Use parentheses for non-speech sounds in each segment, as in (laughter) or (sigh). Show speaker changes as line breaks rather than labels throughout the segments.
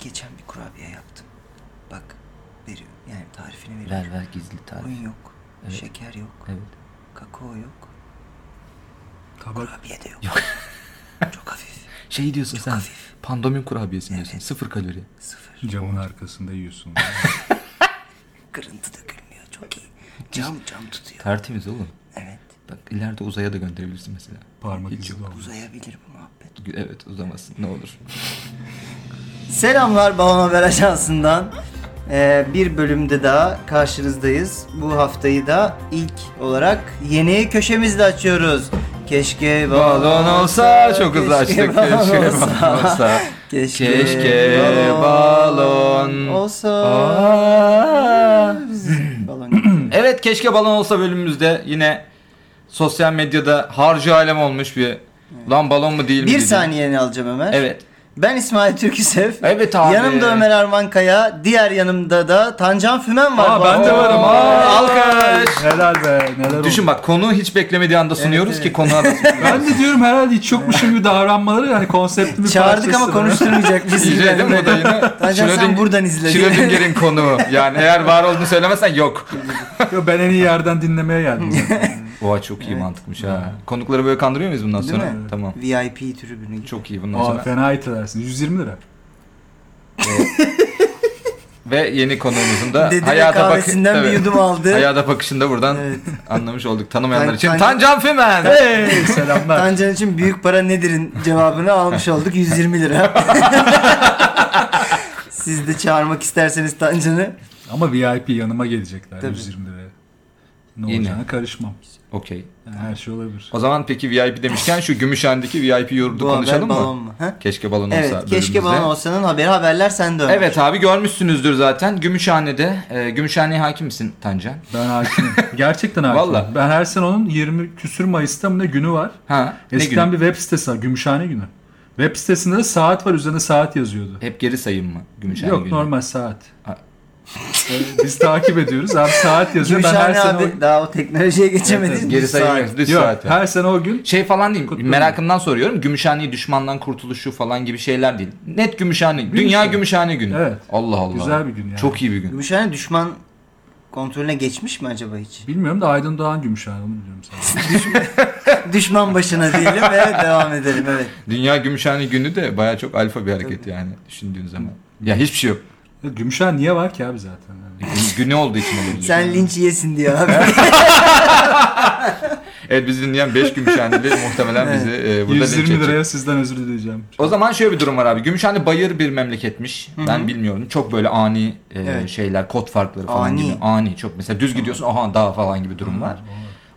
geçen bir kurabiye yaptım. Bak veriyorum. Yani tarifini veriyorum.
Ver ver gizli tarif.
Un yok.
Evet.
Şeker yok.
Evet.
Kakao yok.
Kabak.
Kurabiye de yok.
Yok.
(laughs) Çok hafif.
Şey diyorsun
Çok
sen.
hafif.
Pandomim kurabiyesi
Evet.
diyorsun. Sıfır kalori.
Sıfır.
Camın
(laughs)
arkasında yiyorsun.
Kırıntı dökülmüyor. Çok iyi. Cam cam tutuyor.
Tertemiz oğlum.
Evet.
Bak ileride uzaya da gönderebilirsin mesela.
Parmak
Hiç
izi
yok.
de olmaz.
Uzayabilir bu muhabbet.
Evet uzamazsın ne olur.
Selamlar Balon Haber Ajansı'ndan. Ee, bir bölümde daha karşınızdayız. Bu haftayı da ilk olarak yeni köşemizle açıyoruz. Keşke
Balon olsa çok hızlı
keşke
açtık.
balon
Keşke
olsa.
balon olsa.
Keşke,
Keşke balon
olsa.
Aa.
balon yok.
Evet keşke balon olsa bölümümüzde yine sosyal medyada harcı alem olmuş bir lan balon mu değil mi?
bir
dedim.
saniyeni alacağım Ömer.
Evet.
Ben İsmail Türküsev.
Evet abi.
Yanımda Ömer Arman Kaya. Diğer yanımda da Tancan Fümen var.
Aa, ben de
Balon-
varım.
Aa, alkış.
Helal be neler oldu.
Düşün bak konu hiç beklemediği anda sunuyoruz
evet.
ki konuğa da
Ben de diyorum herhalde hiç yokmuşum gibi davranmaları yani konseptin bir
Çağırdık
parçası.
ama
(laughs)
konuşturmayacak bizi.
İzledin mi o dayını?
Tancan sen
Schrödinger-
buradan izle. (laughs)
Schrödinger'in konuğu. Yani eğer var olduğunu söylemesen yok.
(laughs) Yo, ben en iyi yerden
(laughs)
dinlemeye geldim.
Oha çok iyi mantıkmış ha. Konukları böyle kandırıyor muyuz bundan
Değil
sonra?
mi?
Tamam.
VIP tribünü. gibi.
Çok iyi bundan
Aa,
sonra.
fena itilersin.
(laughs)
120 lira.
Ve yeni konuğumuzun da
Dede de
hayata bakış
kahvesinden bir yudum aldı.
Hayata bakışında buradan
Evet.
(laughs) anlamış olduk. Tanımayanlar
Tan-
için
Tan-
Tancan Fümen.
Hey selamlar.
Tancan için büyük para nedir'in cevabını almış
(laughs)
olduk 120 lira. Siz de çağırmak isterseniz Tancan'ı.
ama VIP yanıma gelecekler
Tabii.
120 liraya. Ne
Yine.
olacağına karışmam.
Okey.
Yani her şey olabilir.
O zaman peki VIP demişken şu Gümüşhane'deki VIP yorumda
Bu haber
konuşalım
balon
mı?
mu? Ha?
Keşke balon olsa.
Evet keşke
bölümümüzde.
balon olsanın haberi haberler sende Ömer.
Evet abi görmüşsünüzdür zaten. Gümüşhane'de. E, Gümüşhane'ye hakim misin Tancan? (laughs)
Ben hakimim. Gerçekten hakimim.
Vallahi.
Ben her sene onun 20 küsür Mayıs'ta mı ne günü var.
Ha. Ne
Eskiden
günü?
bir web sitesi var. Gümüşhane günü. Web sitesinde de saat var. Üzerine saat yazıyordu.
Hep geri sayım mı Gümüşhane
Yok
günü?
normal saat.
Ha.
Ee, Biz takip ediyoruz. Abi saat yazıyor. Ben her
Gümüşhane
sene
abi
o...
daha o teknolojiye
Evet,
geçemediniz.
evet,
Geri
Düz
sayım
saat.
yok. Düz
Yok,
saat var.
her sene o gün
Şey falan değil.
Kutluyorum.
Merakımdan soruyorum. Gümüşhane'yi düşmandan kurtuluşu falan gibi şeyler değil. Net Gümüşhane. Dünya
Gümüşhane.
Gümüşhane günü.
Evet.
Allah Allah.
güzel bir gün yani.
Çok iyi bir gün.
Gümüşhane düşman kontrolüne geçmiş mi acaba hiç?
Bilmiyorum da Aydın Doğan Gümüşhane onu biliyorum sadece.
düşman başına diyelim ve devam edelim evet.
Dünya Gümüşhane günü de baya çok alfa bir hareket yani düşündüğün zaman. Ya hiçbir şey yok.
Ya Gümüşhane niye var ki abi zaten? Yani
Gün- Günü olduğu için olabilir.
Sen linç yesin diyor abi. (laughs)
Evet bizi dinleyen 5 Gümüşhaneli muhtemelen bizi e, burada linç
120
edecek.
liraya sizden özür dileyeceğim.
O zaman şöyle bir durum var abi. Gümüşhane bayır bir memleketmiş. Ben bilmiyorum. Çok böyle ani e,
Evet.
şeyler, kod farkları falan
Ani.
gibi. Ani. Çok mesela düz gidiyorsun aha dağ falan gibi durum var.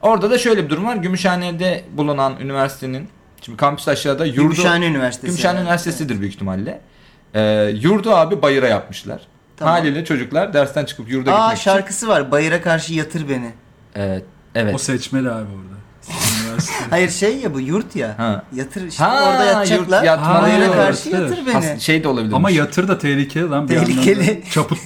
Orada da şöyle bir durum var. Gümüşhane'de bulunan üniversitenin şimdi kampüs aşağıda yurdu.
Gümüşhane Üniversitesi.
Gümüşhane
Evet.
Üniversitesi'dir büyük ihtimalle. E, yurdu abi bayıra yapmışlar.
Tamam.
Haliyle çocuklar dersten çıkıp yurda
Aa
gitmek için.
şarkısı var. Bayıra karşı yatır beni.
E,
O
evet.
seçmeli abi orada.
(laughs)
Üniversite.
Hayır şey ya bu yurt ya.
Ha.
Yatır işte
Ha,
orada
yurt
yatacaklar.
yatmalı.
Bayıra
Ha,
karşı
evet.
yatır beni.
Aslında şey de olabilir.
Ama yatır da tehlikeli lan. Bir
Tehlikeli.
anlamda. Çaput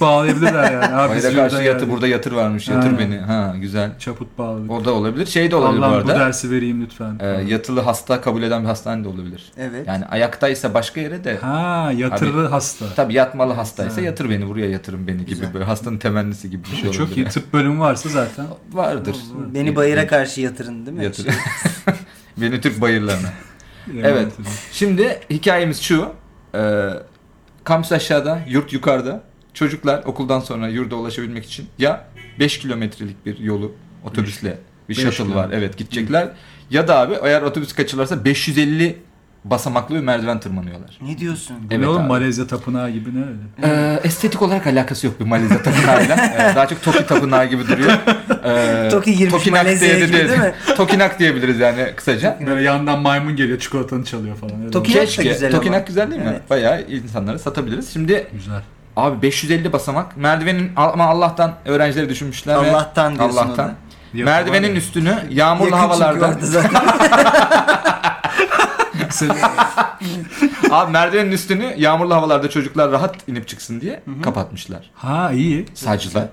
(laughs)
bağlayabilirler yani. Abi biz
Bayıra
yurda
karşı yatı
geldik.
burada yatır varmış. Yatır
Aynen.
beni. Ha güzel.
Çaput bağladık.
O da olabilir. Şey de olabilir bu
Allah'ım bu,
arada.
dersi vereyim lütfen.
Ee, yatılı hasta kabul eden bir hastane de olabilir.
Evet.
Yani ayaktaysa başka yere de
ha yatırı hasta.
tabii yatmalı hastaysa
Ha.
yatır beni buraya yatırın beni gibi
Güzel.
böyle hastanın temennisi gibi bir şey olabilir.
Çok iyi. Tıp bölümü varsa zaten.
Vardır.
Beni bayıra karşı yatırın değil mi?
yatır.
Şey,
(laughs) beni Türk bayırlarına.
yemin
Evet.
ederim.
Şimdi hikayemiz şu. Ee, kampüs aşağıda, yurt yukarıda. Çocuklar okuldan sonra yurda ulaşabilmek için ya 5 kilometrelik bir yolu otobüsle bir
Beş
shuttle var.
kilometre.
Evet gidecekler. Ya da abi eğer otobüs kaçırlarsa 550 basamaklı bir merdiven tırmanıyorlar.
Ne diyorsun?
Bu
Evet
ne oğlum
abi.
Malezya tapınağı gibi ne öyle?
Ee, estetik olarak alakası yok bir Malezya (laughs) tapınağıyla. Ee, daha çok Toki tapınağı gibi duruyor. Ee,
Toki girmiş
Tokinak
Malezya'ya
diye de-
gibi değil mi?
Tokinak diyebiliriz yani kısaca.
Böyle yandan maymun geliyor çikolatanı çalıyor falan. Öyle
Toki-
oldu.
Tokinak da
Keşke.
güzel ama.
Tokinak güzel değil mi?
Evet.
Bayağı insanlara satabiliriz. Şimdi
Güzel.
abi 550 basamak. Merdivenin ama Allah'tan öğrencileri düşünmüşler. ve-
Allah'tan diyorsun
Allah'tan.
orada.
Yapı var
Merdivenin
ya.
üstünü yağmurlu
Yakın çünkü
havalarda. (laughs)
orada zaten.
Abi merdivenin üstünü yağmurlu havalarda çocuklar rahat inip çıksın diye kapatmışlar.
(laughs) Ha iyi.
Sacıda.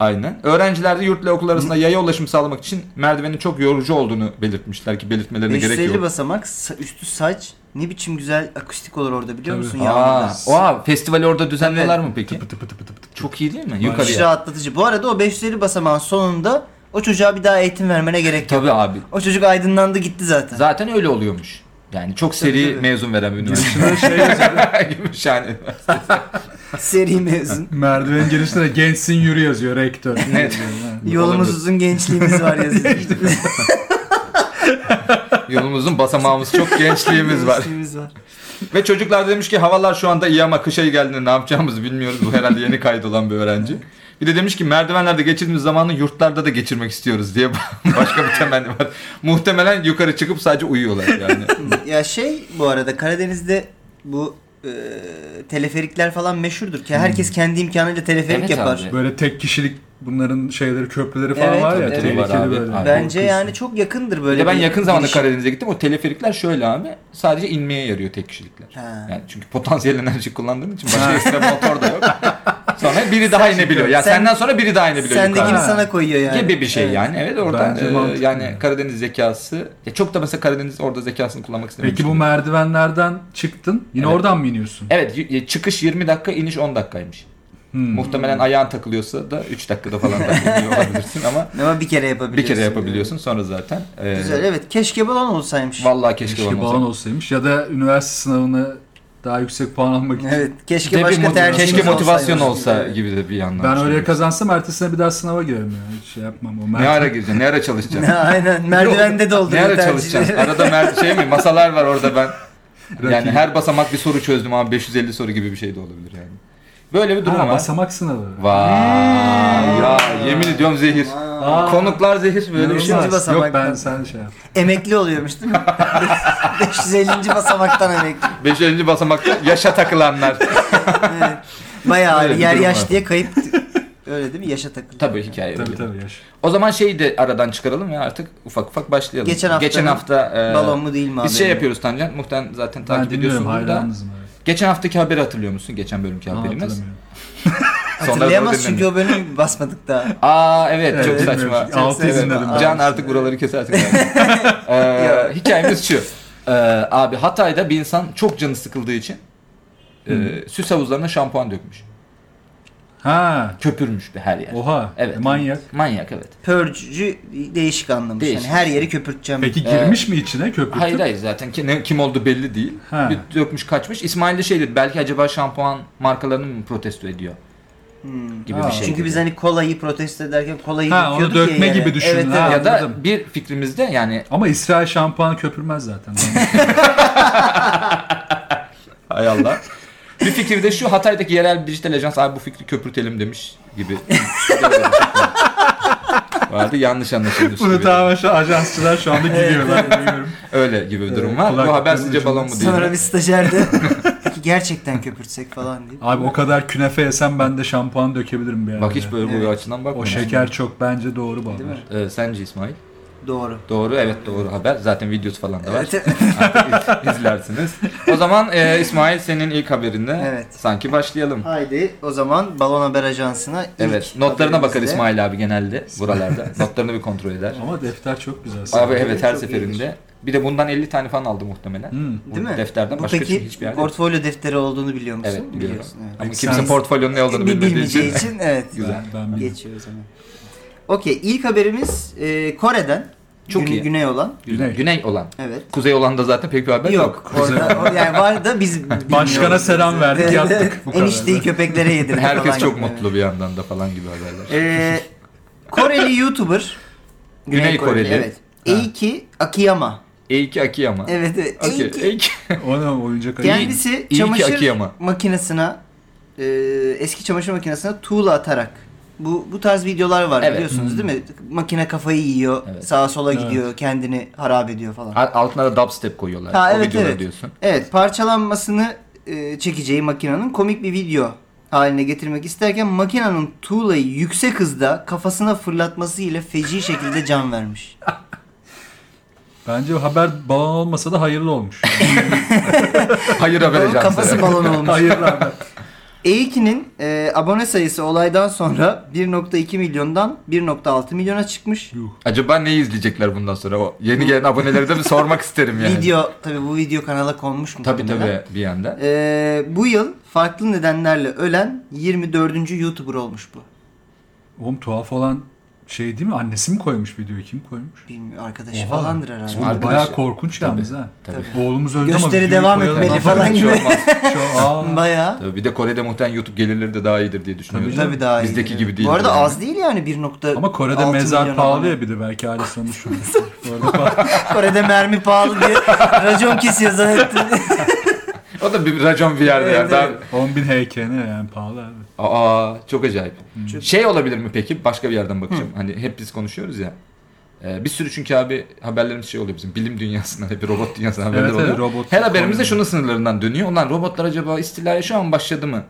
Aynen. Öğrenciler de yurtla okul arasında yaya ulaşım sağlamak için merdivenin çok yorucu olduğunu belirtmişler ki belirtmelerine gerek
550
yok.
basamak sa- üstü saç Ne biçim güzel akustik olur orada biliyor
Tabii.
musun?
Aa,
Yağmurda.
oha, festivali orada düzenliyorlar mı peki?
Tıpı tıpı tıpı tıpı tıpı.
Çok iyi değil mi?
Hiç
Yukarıya.
rahatlatıcı. Bu arada o 550 basamağın sonunda o çocuğa bir daha eğitim vermene gerek yok.
Tabii abi.
O çocuk aydınlandı gitti zaten.
Zaten öyle oluyormuş. Yani çok
Tabii,
seri
tabii.
mezun veren bir
(laughs)
üniversite.
Şuna şey yazıyor.
Gümüşhane.
Seri mezun.
Merdiven girişinde de gençsin yürü yazıyor rektör.
(laughs) Evet.
Yolumuz
Olabilir.
uzun gençliğimiz
(laughs)
var yazıyor.
Yolumuzun basamağımız çok gençliğimiz (laughs) var.
Gençliğimiz var.
Ve çocuklar demiş ki havalar şu anda iyi ama kış ayı geldiğinde ne yapacağımızı bilmiyoruz. Bu herhalde yeni kaydolan bir öğrenci. Bir de demiş ki merdivenlerde geçirdiğimiz zamanı yurtlarda da geçirmek istiyoruz diye (laughs) başka bir temenni var. Muhtemelen yukarı çıkıp sadece uyuyorlar yani.
ya şey bu arada Karadeniz'de bu e, teleferikler falan meşhurdur ki herkes kendi imkanıyla teleferik
Hmm. Evet
yapar.
abi.
Böyle tek kişilik bunların şeyleri köprüleri falan
Evet,
var ya
evet.
Var
tehlikeli
abi,
böyle.
abi.
Bence
Korkuyorsun.
yani çok yakındır
(laughs) Bir
böyle.
de ben
bir
yakın zamanda
girişim.
Karadeniz'e gittim. O teleferikler şöyle abi. Sadece inmeye yarıyor tek kişilikler.
Ha.
Yani çünkü potansiyel enerji kullandığın için başka ekstra motor da (laughs) yok. Sonra biri daha inebiliyor. Ya
sen-
senden sonra biri daha inebiliyor. yukarı.
Sendekini
yukarı.
sana koyuyor yani.
gibi bir şey
Evet.
yani. Evet oradan
Bence
e,
mantıklı.
yani Karadeniz zekası. Ya çok da mesela Karadeniz orada zekasını kullanmak istemiyor.
Peki bu merdivenlerden çıktın. Yine
Evet.
oradan mı iniyorsun?
Evet y- y- çıkış 20 dakika iniş 10 dakikaymış.
Hmm.
Muhtemelen ayağın takılıyorsa da 3 dakikada falan takılıyor olabilirsin ama
Ama bir kere yapabiliyorsun.
bir kere yapabiliyorsun sonra zaten. e,
Güzel evet. Keşke balon olsaymış.
Vallahi keşke,
Keşke
olmasa.
balon olsaymış ya da üniversite sınavını daha yüksek puan almak için.
Evet. Keşke
Keşke,
başka
motiv-
tercihimiz
keşke motivasyon
olsaymış.
olsa
Evet.
gibi de bir yandan. şey
Ben öyle
düşünüyorum.
kazansam ertesine bir daha sınava girerim ya. Hiç şey yapmam. O
Ne
merdiven-
ara gireceksin? Ne
(laughs)
ara çalışacaksın?
Aynen. Merdivende doldu.
Ne ara
(laughs)
çalışacaksın? Arada mer- şey mi? Masalar var orada ben. Yani
(laughs) Rakip.
her basamak bir soru çözdüm ama 550 soru gibi bir şey de olabilir yani. Böyle bir durum
Ha,
var.
basamak sınavı.
Vay ya yemin ediyorum zehir.
Aa.
Konuklar zehir böyle bir
İnanılmaz.
şey. var.
İnanılmaz.
basamak.
Yok ben sen şey yap.
Emekli oluyormuş değil mi?
(laughs)
550. basamaktan emekli.
550 basamakta yaşa takılanlar.
Evet. Bayağı
Öyle bir
yer
durum
yaş
var.
diye kayıp öyle değil mi? Yaşa takıldı.
Tabii hikaye
(laughs) Tabii
öyle.
tabii yaş.
O zaman şeyi de aradan çıkaralım ya artık ufak ufak başlayalım.
Geçen haftanın
hafta, e,
Balon mu değil mi?
biz şey
haberi?
yapıyoruz Tancan. Muhtemelen zaten
Ben
takip
dinliyorum
ediyorsun bunu da.
hayranınızım. Evet.
Geçen haftaki haberi hatırlıyor musun? Geçen bölümki
Aa,
haberimiz.
hatırlamıyorum.
Sonlara doğru
Hatırlayamaz çünkü
dinlemiyor.
o bölümü basmadık daha.
Aa evet,
Evet,
çok
bilmiyorum.
saçma.
Çok
Altı
saçma.
izledim ben.
Can artık buraları
(laughs)
kesersin. ee,
Yok.
hikayemiz şu. Ee, abi Hatay'da bir insan çok canı sıkıldığı için e, süs havuzlarına şampuan dökmüş.
Ha.
Köpürmüş bir her yer.
Oha. E,
Evet.
Manyak.
Manyak evet.
Pörcü değişik anlamış.
Değişik.
Yani her yeri köpürteceğim.
Peki
Ee,
girmiş mi içine köpürtüp?
Hayır hayır zaten ki, ne- kim oldu belli değil.
Ha.
Bir dökmüş kaçmış. İsmail de şey dedi belki acaba şampuan markalarını mı protesto ediyor
Hmm.
gibi
Ha.
bir şey.
Çünkü
dedi.
biz hani kolayı protesto ederken kolayı
Ha, onu
döküyorduk
dökme
ya yere.
gibi düşün.
Evet,
Ha,
evet.
ya da
Anladım.
bir fikrimizde yani
Ama İsrail şampuanı köpürmez zaten.
(laughs) Hay Allah. bir fikir de şu Hatay'daki yerel dijital ajans abi bu fikri köpürtelim demiş gibi. (laughs) şey Vardı yanlış anlaşılmış
Bunu
gibi.
tamamen şu ajansçılar şu anda gidiyorlar. biliyorum.
Öyle gibi bir durum
Evet,
var. Bu haber
kulaklıkların
sizce balon mu değil
Sonra
mi?
bir stajyer
(laughs)
de "Peki gerçekten köpürtsek falan diye.
Abi o kadar künefe yesem ben de şampuan dökebilirim bir yerde.
Bak hiç böyle bu
Evet.
açıdan bakma.
O şeker çok bence doğru bu
Değil mi?
haber.
Ee, sence İsmail?
Doğru.
Doğru evet doğru haber. Zaten videosu falan da var.
Evet.
Artık iz- izlersiniz. O zaman e, İsmail senin ilk haberinde
Evet.
sanki başlayalım.
(laughs) Haydi o zaman Balon Haber Ajansı'na ilk
Evet notlarına bakar
haberimizle-
İsmail abi genelde
(laughs)
buralarda. Notlarını bir kontrol eder.
Ama defter çok güzel.
Abi evet her
Çok
seferinde. Bir de bundan 50 tane falan aldı muhtemelen.
Hmm.
Değil mi?
Defterden
Bu
başka
peki
hiçbir yerde. yok.
portfolyo defteri olduğunu biliyor musun?
Evet biliyorum.
evet.
Ama
Peki
kimse
sen-
portfolyo'nun ne olduğunu
Bir
bilmediği için.
bilmeyeceği
(laughs)
için evet.
Ben, ben bilmiyorum.
Geçiyor o zaman. Okey ilk haberimiz e, Kore'den.
Çok
Gün- (laughs)
iyi.
Güney olan.
Güney.
Güney.
Güney olan.
Evet.
Kuzey olan da zaten pek bir haber yok.
Yok. Orada, o- yani var da
(laughs)
biz bilmiyoruz.
Başkana selam verdik, yattık. Bu kadar.
Enişteyi köpeklere yedirdik.
Herkes
falan
çok
gibi.
mutlu bir yandan da falan gibi haberler.
Ee, Koreli YouTuber.
Güney Koreli.
Evet. Eiki Akiyama.
Eiki Akiyama.
Evet E evet.
Okey,
Eiki.
Eiki.
Ona oyuncak ayı.
Kendisi
Eiki
çamaşır
Akiyama.
makinesine e, eski çamaşır makinesine tuğla atarak bu bu tarz videolar var
Evet. Hmm.
biliyorsunuz değil mi? Makine kafayı yiyor,
Evet.
sağa sola
Evet.
gidiyor, kendini harap ediyor falan.
Al- Altına da dubstep koyuyorlar.
Ha,
o
evet,
videoda
evet.
diyorsun.
Evet, parçalanmasını e, çekeceği makinenin komik bir video haline getirmek isterken makinenin tuğlayı yüksek hızda kafasına fırlatması ile feci şekilde can vermiş.
Bence haber balon
(laughs)
olmasa da hayırlı olmuş.
Hayır haber
Onun
ajansı.
(laughs)
kafası balon olmuş.
hayırlı haber.
E2'nin e, abone sayısı olaydan sonra 1.2 milyondan 1.6 milyona çıkmış.
Yuh.
Acaba neyi izleyecekler bundan sonra? O yeni gelen abonelere de bir sormak isterim yani.
Video tabi bu video kanala konmuş mu? Ee,
Tabii tabii bir yandan.
bu yıl farklı nedenlerle ölen 24. YouTuber olmuş bu.
Oğlum tuhaf olan şey değil mi? Annesi mi koymuş videoyu? Kim koymuş?
Bilmiyorum arkadaşı
Oha.
falandır herhalde.
Oğlum,
Arkadaş-
bayağı korkunç yalnız ha.
şey. Tabii.
Oğlumuz öldü ama
Gösteri
videoyu
devam
koyalım.
etmeli
Lan
falan
hiç
gibi.
olmaz.
(laughs)
Şu- aa.
Baya.
Tabii bir de Kore'de muhtemelen YouTube gelirleri de daha iyidir diye düşünüyorum.
Tabii daha iyi.
Bizdeki gibi değil.
Bu arada
yani.
az değil yani 1.
Ama Kore'de mezar pahalı ya bir de belki aile sonuç.
(laughs)
Orada pahalı.
Kore'de mermi pahalı diye (laughs) racon kesiyor zannettim.
(laughs) O da bir racon bir yerde.
Evet,
yani. Daha-
10 bin HKN yani pahalı abi.
Aa çok acayip.
Çok-
Şey olabilir mi peki? Başka bir yerden bakacağım. Hani hep biz konuşuyoruz ya. Ee, bir sürü çünkü abi haberlerimiz şey oluyor bizim bilim dünyasından (laughs) hep robot dünyasından haberler
Evet, evet,
oluyor.
robot-
Her haberimizde şunun sınırlarından dönüyor. Ulan robotlar acaba istilaya şu an başladı mı?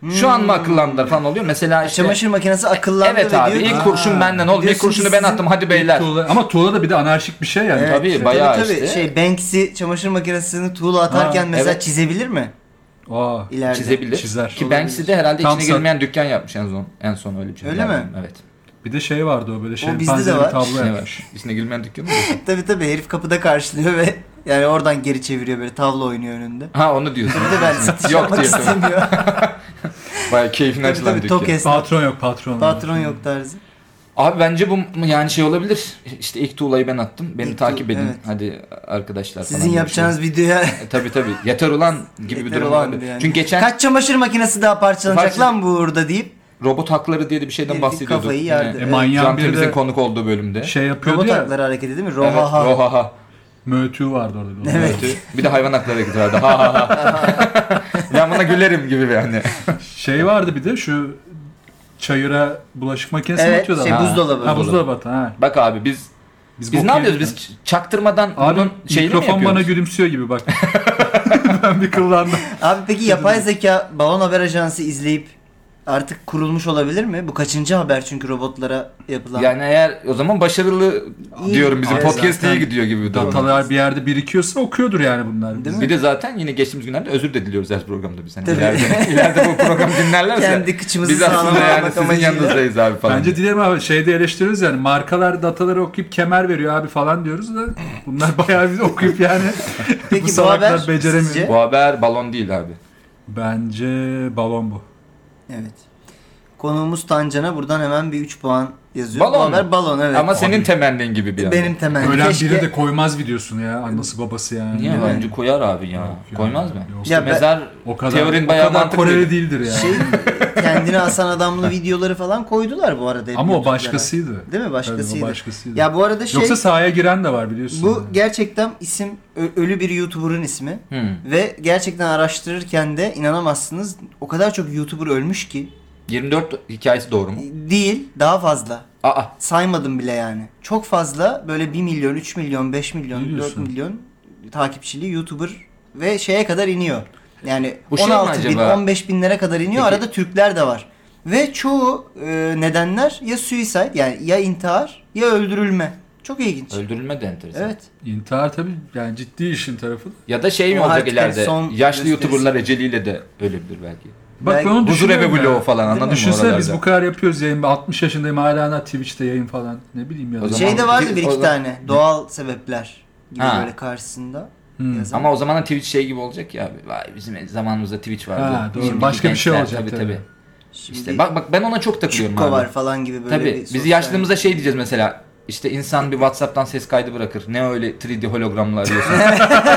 Hmm.
Şu an mı akıllandılar falan oluyor. Mesela işte
Çamaşır makinesi akıllandı
Evet
ve
abi
diyor ki-
ilk kurşun
Aa,
benden oğlum ilk
diyorsun
kurşunu
ki
ben
sizin
attım hadi beyler.
Tuğla- ama Tuğla da bir de anarşik bir şey yani.
Evet,
Tabii,
işte.
bayağı
tabii,
işte.
Şey Banksy çamaşır makinesini tuğla atarken
Ha,
mesela
evet.
çizebilir mi? (laughs)
Aa,
İleride.
Çizebilir.
Çizer.
Ki Banksy de herhalde
Tam
içine
sa-
girmeyen dükkan yapmış en son. En son öyle bir şey.
Öyle mi?
Evet.
bir de şey vardı o böyle
bizde de
şempanze
var.
bir tablo
Ne
yapmış.
var? İçine girmeyen dükkan mı? (laughs)
tabii tabii herif kapıda karşılıyor ve yani oradan geri çeviriyor böyle tavla oynuyor önünde.
ha onu diyorsun.
(laughs) Bir de ben satış
(laughs) Yok
yapmak
diyor.
istemiyor.
Bayağı keyfini
tabii
açılan
tabii
dükkan.
tok esnaf.
Patron yok patron.
Patron yok tarzı.
Abi bence bu yani şey olabilir. İşte ilk tuğlayı ben attım. Beni
İlk
takip
tuğ-
edin.
evet.
Hadi arkadaşlar falan
Sizin
diye bir
yapacağınız videoya
Şey. E, tabii tabii. Yeter ulan gibi bir
Yeter
durum
ulan
olabilir.
yani.
Çünkü geçen
kaç çamaşır makinesi daha parçalanacak
Parça-
lan bu uğurda deyip
robot hakları diye de bir
Herifin
şeyden bahsediyorduk.
kafayı
Yine
yerdi.
E,
Evet.
Can
manyağın biri
Temiz'in
de
konuk olduğu bölümde.
şey yapıyordu
robot
ya.
hakları hareketi değil mi?
Evet,
Rohaha.
Rohaha.
Mötü vardı orada. bir.
Evet.
Evet. Bir de hayvan hakları hareketi vardı. Ha ha ha. ben buna gülerim gibi yani.
Şey vardı bir de şu çayıra bulaşık makinesi
Evet,
atıyordu.
şey,
adam.
buzdolabı.
Ha buzdolabı atan, ha.
Bak abi biz biz
bok
ne yapıyoruz?
yedik
Biz ç- çaktırmadan
ya. Abi
bunun şeyini mi
mikrofon bana
yapıyoruz?
gülümsüyor gibi bak. (laughs) ben bir kıllandım.
Abi peki yapay zeka balon haber ajansı izleyip artık kurulmuş olabilir mi? Bu kaçıncı haber çünkü robotlara yapılan.
Yani eğer o zaman başarılı
İyi.
diyorum bizim
Abi
podcast
zaten
iyi gidiyor gibi bir durum.
Datalar bir yerde birikiyorsa okuyordur yani bunlar.
Değil mi?
Bir de zaten yine geçtiğimiz günlerde özür de diliyoruz her programda biz. Hani
Tabii.
ileride,
(laughs)
ileride bu program dinlerlerse
Kendi kıçımızı
biz aslında
sağlam
yani
almak
sizin
amacıyla.
yanınızdayız abi falan.
Bence dilerim abi şeyde eleştiriyoruz yani markalar dataları okuyup kemer veriyor abi falan diyoruz da bunlar (laughs) bayağı bir okuyup yani
Peki bu
salaklar
haber
beceremiyor.
sizce?
Bu haber balon değil abi.
Bence balon bu.
Evet. Konuğumuz Tancan'a buradan hemen bir 3 puan yazıyor.
Balon
Bu
mu?
haber balon evet.
Ama senin
Abi.
temennin gibi bir
benim temennim.
Ölen
Keşke-
biri de koymaz videosunu ya annesi babası yani.
Niye?
Değil mi?
Bence koyar abi ya.
Yok ya.
Koymaz mı?
Yok.
İşte
Ya ben-
mezar
O kadar,
teorin
o
bayağı
kadar
mantıklı.
Koreli değildir yani.
şey kendini asan
(laughs)
adamlı videoları falan koydular bu arada. hep
Ama o
YouTube'lara.
başkasıydı.
Değil mi? Başkasıydı.
Tabii o başkasıydı.
Ya bu arada şey
Yoksa sahaya giren de var biliyorsun.
bu
yani.
gerçekten isim ö- ölü bir YouTuber'ın ismi.
Hmm.
Ve gerçekten araştırırken de inanamazsınız o kadar çok YouTuber ölmüş ki
24 hikayesi doğru mu?
değil daha fazla.
Aa
Saymadım bile yani. Çok fazla böyle 1 milyon, 3 milyon, 5 milyon,
Ne
4
diyorsun?
milyon takipçili YouTuber ve şeye kadar iniyor. Yani
Bu şey mi
16 bin,
acaba?
15 binlere kadar iniyor.
Peki.
Arada Türkler de var. Ve çoğu e, nedenler ya suicide yani ya intihar ya öldürülme. Çok ilginç.
öldürülme de enteresan.
Evet.
İntihar tabii yani ciddi işin tarafı. da.
Ya da şey mi
Ama
olacak
artık
ileride?
son
Yaşlı
gösterisi.
YouTuber'lar eceliyle de ölebilir belki.
Bak
Belki-
ben onu
Huzur
düşünüyorum
evi
ya.
bloğu falan anladın mı?
Düşünsene
oralarda?
biz bu kadar yapıyoruz yayın. 60 yaşındayım hala hala Twitch'te yayın falan. Ne bileyim ya.
O zaman-
Şey de vardı bir
O
iki
zaman-
tane doğal sebepler gibi
Ha.
böyle karşısında
Hmm.
yazan.
Ama o zaman da Twitch şey gibi olacak ya abi. Vay bizim zamanımızda Twitch vardı.
Ha, doğru.
Şimdiki
Başka bir şey
gençler,
olacak
tabii.
tabii.
tabii.
Şimdi
İşte bak bak ben ona çok takılıyorum
Çukko
abi.
var falan gibi böyle
tabii.
bir
Biz
sosyal-
yaşlımıza şey diyeceğiz mesela. İşte insan bir WhatsApp'tan ses kaydı bırakır. Ne öyle 3D hologramlar
(laughs)
diyorsun.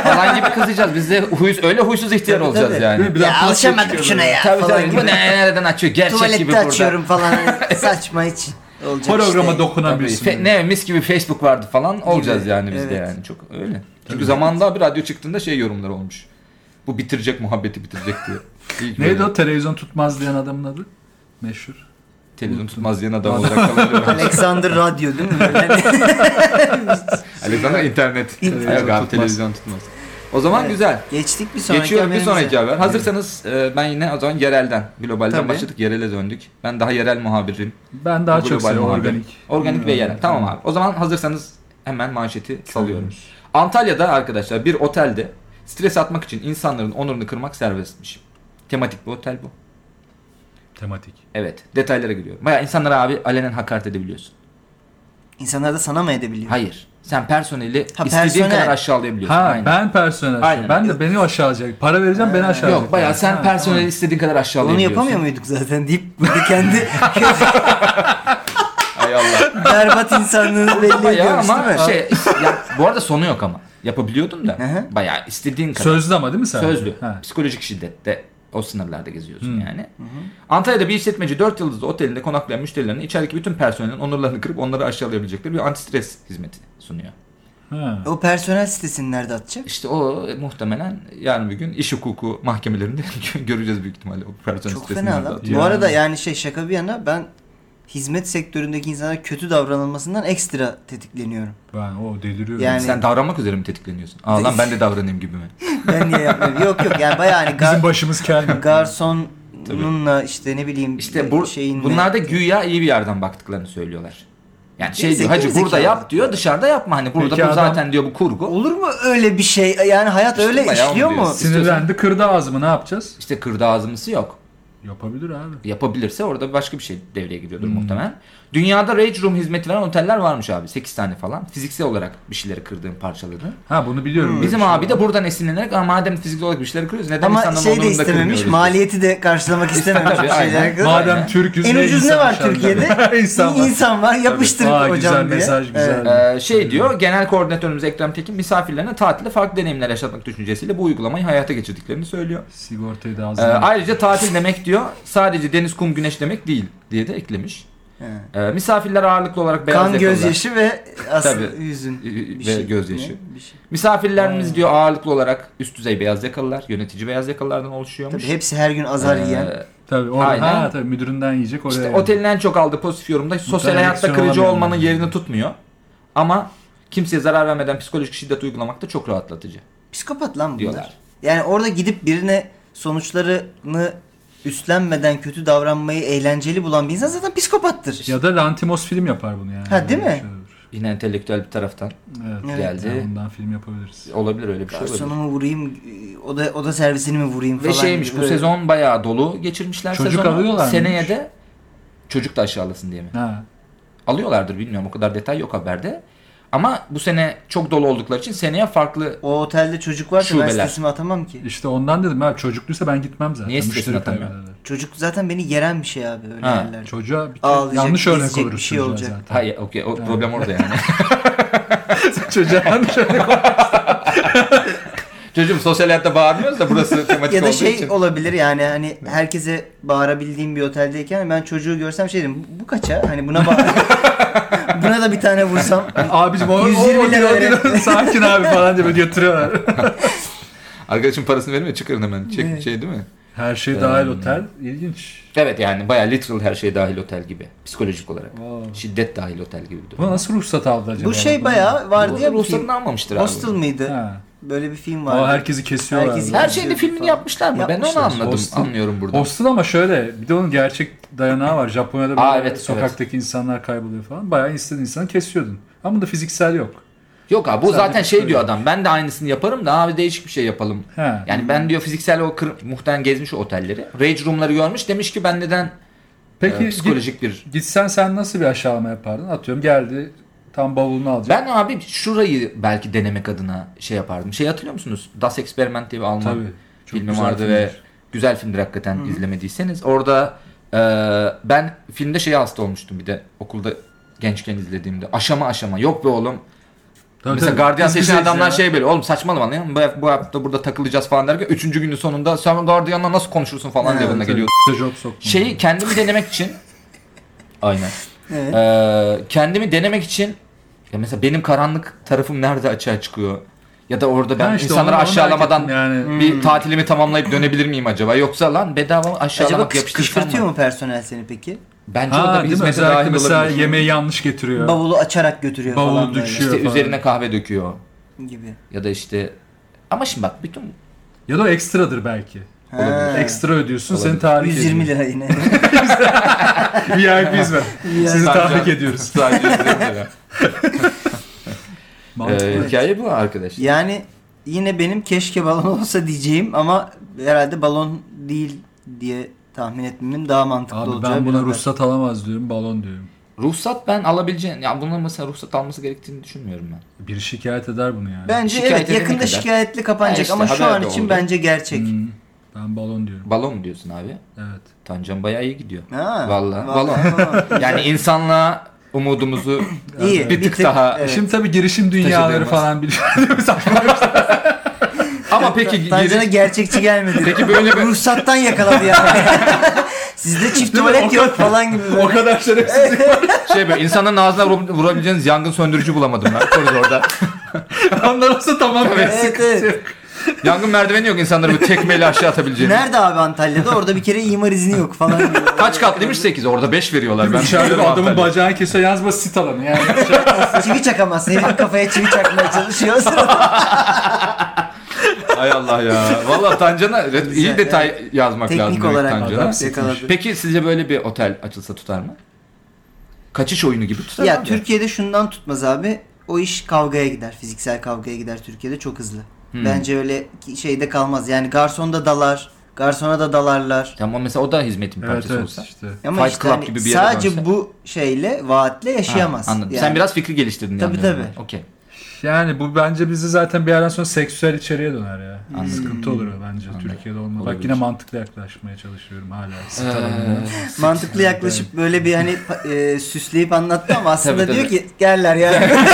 falan gibi kızacağız. Biz de huys- öyle huysuz ihtiyar
Tabii,
olacağız
tabii.
yani.
Bir de
Ya
plastik
alışamadım
çıkıyor
şuna
böyle.
ya
tabii
falan
tabii.
gibi.
Bu ne, nereden açıyor? Gerçek gibi
Tuvalette
burada.
açıyorum
(laughs)
falan saçma hiç olacak
Holograma
işte.
Tabii,
dokunamıyorsun.
fe- ne mis gibi Facebook vardı falan olacağız yani biz de
evet.
yani çok öyle. Çünkü zamanında bir radyo çıktığında şey yorumlar olmuş. Bu bitirecek muhabbeti bitirecek
(laughs)
diye. İlk
Neydi
böyle
o televizyon tutmaz diyen adamın adı? Meşhur.
Televizyon tutmaz diyen adam olarak
(laughs)
kalabilir.
Alexander Radyo değil mi?
(laughs)
Böyle hani
Alexander internet.
İnternet.
Yok abi
Tutmaz.
televizyon tutmaz. O zaman
Evet.
güzel.
Geçtik bir sonraki
Geçiyorum bir
haberimize.
sonraki haber. Hazırsanız e, ben yine o zaman yerelden, globalden
Tabii.
başladık, yerele döndük. Ben daha yerel muhabirim.
Ben daha
Bu
çok
global
seviyorum
muhabir.
organik.
Organik ve
Hmm.
yerel. Tamam abi. O zaman hazırsanız hemen manşeti salıyorum. Antalya'da arkadaşlar bir otelde stres atmak için insanların onurunu kırmak serbestmiş. Tematik bir otel bu.
Tematik.
Evet detaylara giriyorum. Baya insanlara abi alenen hakaret edebiliyorsun.
İnsanlar da sana mı edebiliyor?
Hayır. Sen personeli
Ha,
istediğin
personel.
kadar aşağılayabiliyorsun.
Ha
Aynen.
ben personel.
Aynen.
Ben de beni aşağılayacak. Para vereceğim beni aşağılayacak.
Yok baya sen
Ha,
personeli istediğin kadar
Onu
aşağılayabiliyorsun.
yapamıyor muyduk zaten deyip böyle
(laughs)
kendi
Hay Allah.
berbat insanlığını belli
Bayağı
ediyormuş değil
(laughs) ama
mi?
şey ya, bu arada sonu yok ama. Yapabiliyordun da.
Hı hı.
Bayağı istediğin kadar.
Sözlü ama değil mi sen?
Sözlü.
Ha.
Psikolojik şiddette o sınırlarda geziyorsun yani. Antalya'da bir işletmeci 4 yıldızlı otelinde konaklayan müşterilerine içerideki bütün personelin onurlarını kırıp onları aşağılayabilecekleri bir antistres hizmeti sunuyor.
Ha.
O personel sitesini nerede atacak?
İşte o e, muhtemelen yarın bir gün iş hukuku mahkemelerinde (laughs) göreceğiz büyük ihtimalle. O personel
Çok
sitesini
fena
orada
lan.
atıyor.
Bu
Yani.
arada yani şey şaka bir yana ben hizmet sektöründeki insanlara kötü davranılmasından ekstra tetikleniyorum.
Ben o deliriyorum.
Yani-
Sen davranmak üzere mi tetikleniyorsun? Aa lan ben de davranayım gibi mi?
Ben niye yapmıyorum? yok yok yani bayağı hani
Bizim
gar-
başımız kel mi?
garsonunla işte ne bileyim
İşte bu,
şeyinle-
bunlar da güya iyi bir yerden baktıklarını söylüyorlar. Yani şey
Geri
diyor
zekalı,
hacı
zekalı.
burada yap diyor dışarıda yapma hani burada
Peki
bu
adam-
zaten diyor bu kurgu.
Olur mu öyle bir şey? Yani hayat
İşte
öyle
bayağı
işliyor
onu
mu?
diyorsun.
Sinirlendi kırdı ağzımı ne yapacağız?
İşte kırdı ağzımızı yok.
Yapabilir abi.
Yapabilirse orada başka bir şey devreye giriyordur
Hmm.
muhtemelen. Dünyada Rage Room hizmeti veren oteller varmış abi. 8 tane falan. Fiziksel olarak bir şeyleri kırdığın parçaladığın.
Ha bunu biliyorum.
Hmm. Bizim abi de buradan esinlenerek "Aa, madem fiziksel olarak bir şeyleri kırıyoruz neden
Ama
insanların
şey de
onurunu da
istememiş,
kırmıyoruz?"
maliyeti de karşılamak istememiş.
Tabii,
bir şeyler.
aynen.
kız.
Madem
Aynen.
Türk'üz
En
ne
ucuz ne
insan
var
aşağıda? (laughs)
Türkiye'de?
insan var.
İnsan var. Yapıştırın
Aa,
hocam
güzel
diye.
mesaj, güzel.
Evet.
Ee, şey diyor genel koordinatörümüz Ekrem Tekin misafirlerine tatilde farklı deneyimler yaşatmak düşüncesiyle bu uygulamayı hayata geçirdiklerini söylüyor.
Sigortayı da
Ee,
ağzına.
ayrıca tatil demek diyor sadece deniz, kum, güneş demek değil diye de eklemiş.
Evet.
Ee, misafirler ağırlıklı olarak beyaz
Kan
yakalılar-
gözyaşı ve aslında
Tabii.
yüzün bir
ve
şey.
gözyaşı.
Ne? Bir şey.
Misafirlerimiz diyor ağırlıklı olarak üst düzey beyaz yakalılar, yönetici beyaz yakalılardan oluşuyormuş.
Tabii hepsi her gün azar
Ee,
yiyen.
Tabii orada
Aynen.
ha tabii müdüründen yiyecek oraya.
İşte
yani.
otelin en çok aldığı pozitif yorumda sosyal
tane
hayatta
şey
aksiyon
kırıcı
alamıyorum
olmanın
ben.
yerini tutmuyor. Ama kimseye zarar vermeden psikolojik şiddet uygulamak da çok rahatlatıcı.
Psikopat lan bunlar.
Diyorlar.
Yani orada gidip birine sonuçlarını üstlenmeden kötü davranmayı eğlenceli bulan bir insan zaten psikopattır.
Ya da Lantimos film yapar bunu yani.
Ha, değil mi?
Öyle bir şey olur.
Yine entelektüel bir taraftan
Evet.
Evet.
geldi.
Yani bundan film yapabiliriz.
Olabilir öyle bir şey olabilir.
Garsonumu vurayım, o da o da servisini mi vurayım
Ve
falan.
şeymiş
gibi
bu
böyle.
sezon bayağı dolu geçirmişler
Çocuk
sezonu.
alıyorlarmış.
Seneye de çocuk da aşağılasın diye mi?
Ha.
Alıyorlardır bilmiyorum o kadar detay yok haberde. Ama bu sene çok dolu oldukları için seneye farklı
O otelde çocuk varsa ben
Şubeler.
sitesimi atamam ki.
İşte ondan dedim abi çocukluysa ben gitmem zaten.
Niye
Müşteri
stresini atamıyor?
kaybederler.
Çocuk zaten beni yeren bir şey abi öyle
Ha,
yerlerde.
Çocuğa bir
Ağlayacak,
yanlış örnek
gezecek
olursun
bir şey
çocuğa
olacak.
zaten.
Hayır okey o problem orada yani.
(laughs) çocuğa
(laughs)
yanlış örnek olursun.
Çocuğum sosyal hayatta bağırmıyoruz da burası tematik
Ya da
olduğu
şey
için.
olabilir yani hani herkese bağırabildiğim bir oteldeyken ben çocuğu görsem şey derim bu kaça hani buna bağır.
(laughs)
(laughs) buna da bir tane vursam.
Abicim o, o, o,
120
o-
lira verin.
sakin abi falan diye böyle götürüyorlar.
(laughs) Arkadaşım parasını verin ve çıkarın hemen. Çek, Şey değil mi?
Her şey dahil otel. İlginç.
Evet yani bayağı literal her şey dahil otel gibi. Psikolojik olarak.
Wow.
Şiddet dahil otel gibi. bir durum.
Bu nasıl ruhsat aldı acaba?
Bu şey bayağı Ee,
Bu
vardı ya bir film.
ruhsatını almamıştır abi.
Hostel mıydı?
Ha.
Böyle bir film vardı.
Ama herkesi kesiyorlar.
Herkesi-
Her şeyin
Yapmışlar
filmini
falan.
yapmışlar mı? Ben onu
Yapmışlar.
anladım.
Hostel-
Anlıyorum burada.
Hostel ama şöyle bir de onun gerçek dayanağı var. Japonya'da böyle
Aa, evet,
sokaktaki insanlar kayboluyor falan. Bayağı istediğin insanı kesiyordun. Ama bunda fiziksel yok.
Yok abi bu
Sadece
zaten şey
psikolojik.
diyor adam. Ben de aynısını yaparım da abi değişik bir şey yapalım.
He.
Yani ben diyor fiziksel o kır, muhtemelen gezmiş o otelleri. Rage room'ları görmüş demiş ki ben neden
Peki
e, psikolojik bir
git- gitsen sen nasıl bir aşağılama yapardın? Atıyorum geldi tam bavulunu alacak.
ben abi şurayı belki denemek adına şey yapardım. Şey hatırlıyor musunuz? Das Experiment diye bir Alman
Tabii. Çok
filmi
güzel
vardı
filmdir.
ve güzel filmdir hakikaten izlemediyseniz. Orada e, ben filmde şeye hasta olmuştum bir de okulda gençken izlediğimde. Aşama aşama yok be oğlum.
Tabii,
Mesela
tabii.
gardiyan
Biz
seçen
bizeyiz
adamlar
ya.
şey böyle oğlum saçmalama lan bu, bu hafta burada takılacağız falan derken üçüncü günün sonunda sen gardiyanla nasıl konuşursun falan diye
Evet,
bana
Tabii,
geliyor.
job sokma.
Şeyi kendimi denemek
(laughs)
için aynen.
Evet.
Ee, kendimi denemek için ya mesela benim karanlık tarafım nerede açığa çıkıyor? Ya da orada ben
Ha işte
insanları
onu- onu merak
aşağılamadan Hmm,
ettim yani. Hmm.
bir tatilimi tamamlayıp dönebilir miyim acaba? Yoksa lan bedava mı
Acaba
aşağılamak
kış,
yapıştırmak
kışkırtıyor
mı?
mu personel seni peki?
Bence o da
Ha,
bir
değil mi?
hizmete dahil
Özellikle mesela
olabilir.
yemeği yanlış getiriyor.
Bavulu açarak götürüyor
Bavulu
falan böyle
düşüyor.
İşte
falan.
üzerine kahve döküyor.
gibi.
Ya da işte ama şimdi bak bütün
ya da o ekstradır belki.
Ha.
Ekstra ödüyorsun
Olabilir.
seni tahrik
120
ediyor.
lira yine.
(laughs)
(laughs) VIP hizmet.
(laughs)
Sizi tahrik ediyoruz. (laughs)
Sadece üzerinde.
Mantıklı.
Ee, hikaye bu arkadaşlar.
yani (laughs) yine benim keşke balon olsa diyeceğim ama herhalde balon değil diye tahmin etmemin daha mantıklı
Abi
olacağı
ben buna
bir haber.
ruhsat alamaz diyorum balon diyorum.
Ruhsat ben alabileceğin, ya bunun mesela ruhsat alması gerektiğini düşünmüyorum ben.
Biri şikayet eder bunu yani.
Bence
Şikayet
evet
edene
yakında
kadar.
şikayetli kapanacak
Ha işte,
ama şu
haber
an
de
için
oldu.
bence gerçek.
Hmm, ben balon diyorum.
Balon mu diyorsun abi?
Evet.
Tancan bayağı
(laughs)
iyi gidiyor.
Ha, (laughs)
Vallahi,
vallahi.
Yani insanlığa umudumuzu
(laughs) İyi,
bir tık daha.
evet.
Şimdi tabii girişim dünyaları
edemez.
falan biliyor. (laughs)
Ama
(laughs)
peki
Tancan'a
geri,
gerçekçi gelmedi.
Peki böyle bir-
Ruhsattan yakaladı
(laughs)
yani. Sizde çift
Değil mi?
tuvalet
O
yok falan gibi.
o kadar şerefsizlik.
şey böyle insanların ağzına vura- vurabileceğiniz yangın söndürücü bulamadım ben koridorda.
(laughs) Onlar olsa tamam.
Tabii.
ya.
Evet, evet.
Yangın merdiveni yok insanları bu tekmeyle aşağı atabileceğiniz.
Nerede abi Antalya'da? Orada bir kere imar izni yok falan gibi.
Kaç katlıymış 8 orada 5 veriyorlar. Ben
Dışarıda
biliyorum
adamın
hanımefendi.
bacağını kese yazma sit alanı yani.
çivi çakamaz. Herif kafaya çivi çakmaya çalışıyor.
Hay Allah ya. Valla Tancan'a re- iyi
Güzel,
detay yazmak lazım.
Teknik
demek
olarak
Tancan'a.
adam.
yakaladı.
Peki sizce böyle bir otel açılsa tutar mı? Kaçış oyunu gibi tutar
Ya
mı?
Türkiye'de şundan tutmaz abi. O iş kavgaya gider. Fiziksel kavgaya gider Türkiye'de çok hızlı.
Hmm.
Bence öyle ki- şeyde kalmaz. Yani garson da dalar. Garsona da dalarlar.
Tamam mesela o da hizmetin
evet
parçası
evet
olsa.
işte.
Ama
Fight
işte
Club
hani
gibi bir yere
sadece
dönse.
bu şeyle, vaatle
Ha,
yaşayamaz.
anladım.
şey Yani.
Sen biraz fikri geliştirdin.
Tabii,
yani.
tabii.
Okey.
Yani bu bence bizi zaten bir yerden sonra seksüel içeriğe döner ya.
Anladım.
Sıkıntı olur o bence
Anladım.
Türkiye'de olmaz. Bak
Olabilir.
yine mantıklı yaklaşmaya çalışıyorum hala. Sit
Ee,
alanına.
(laughs) mantıklı yaklaşıp böyle bir hani e, süsleyip anlattı ama aslında
Tabii,
diyor
tabii.
ki gerler yani.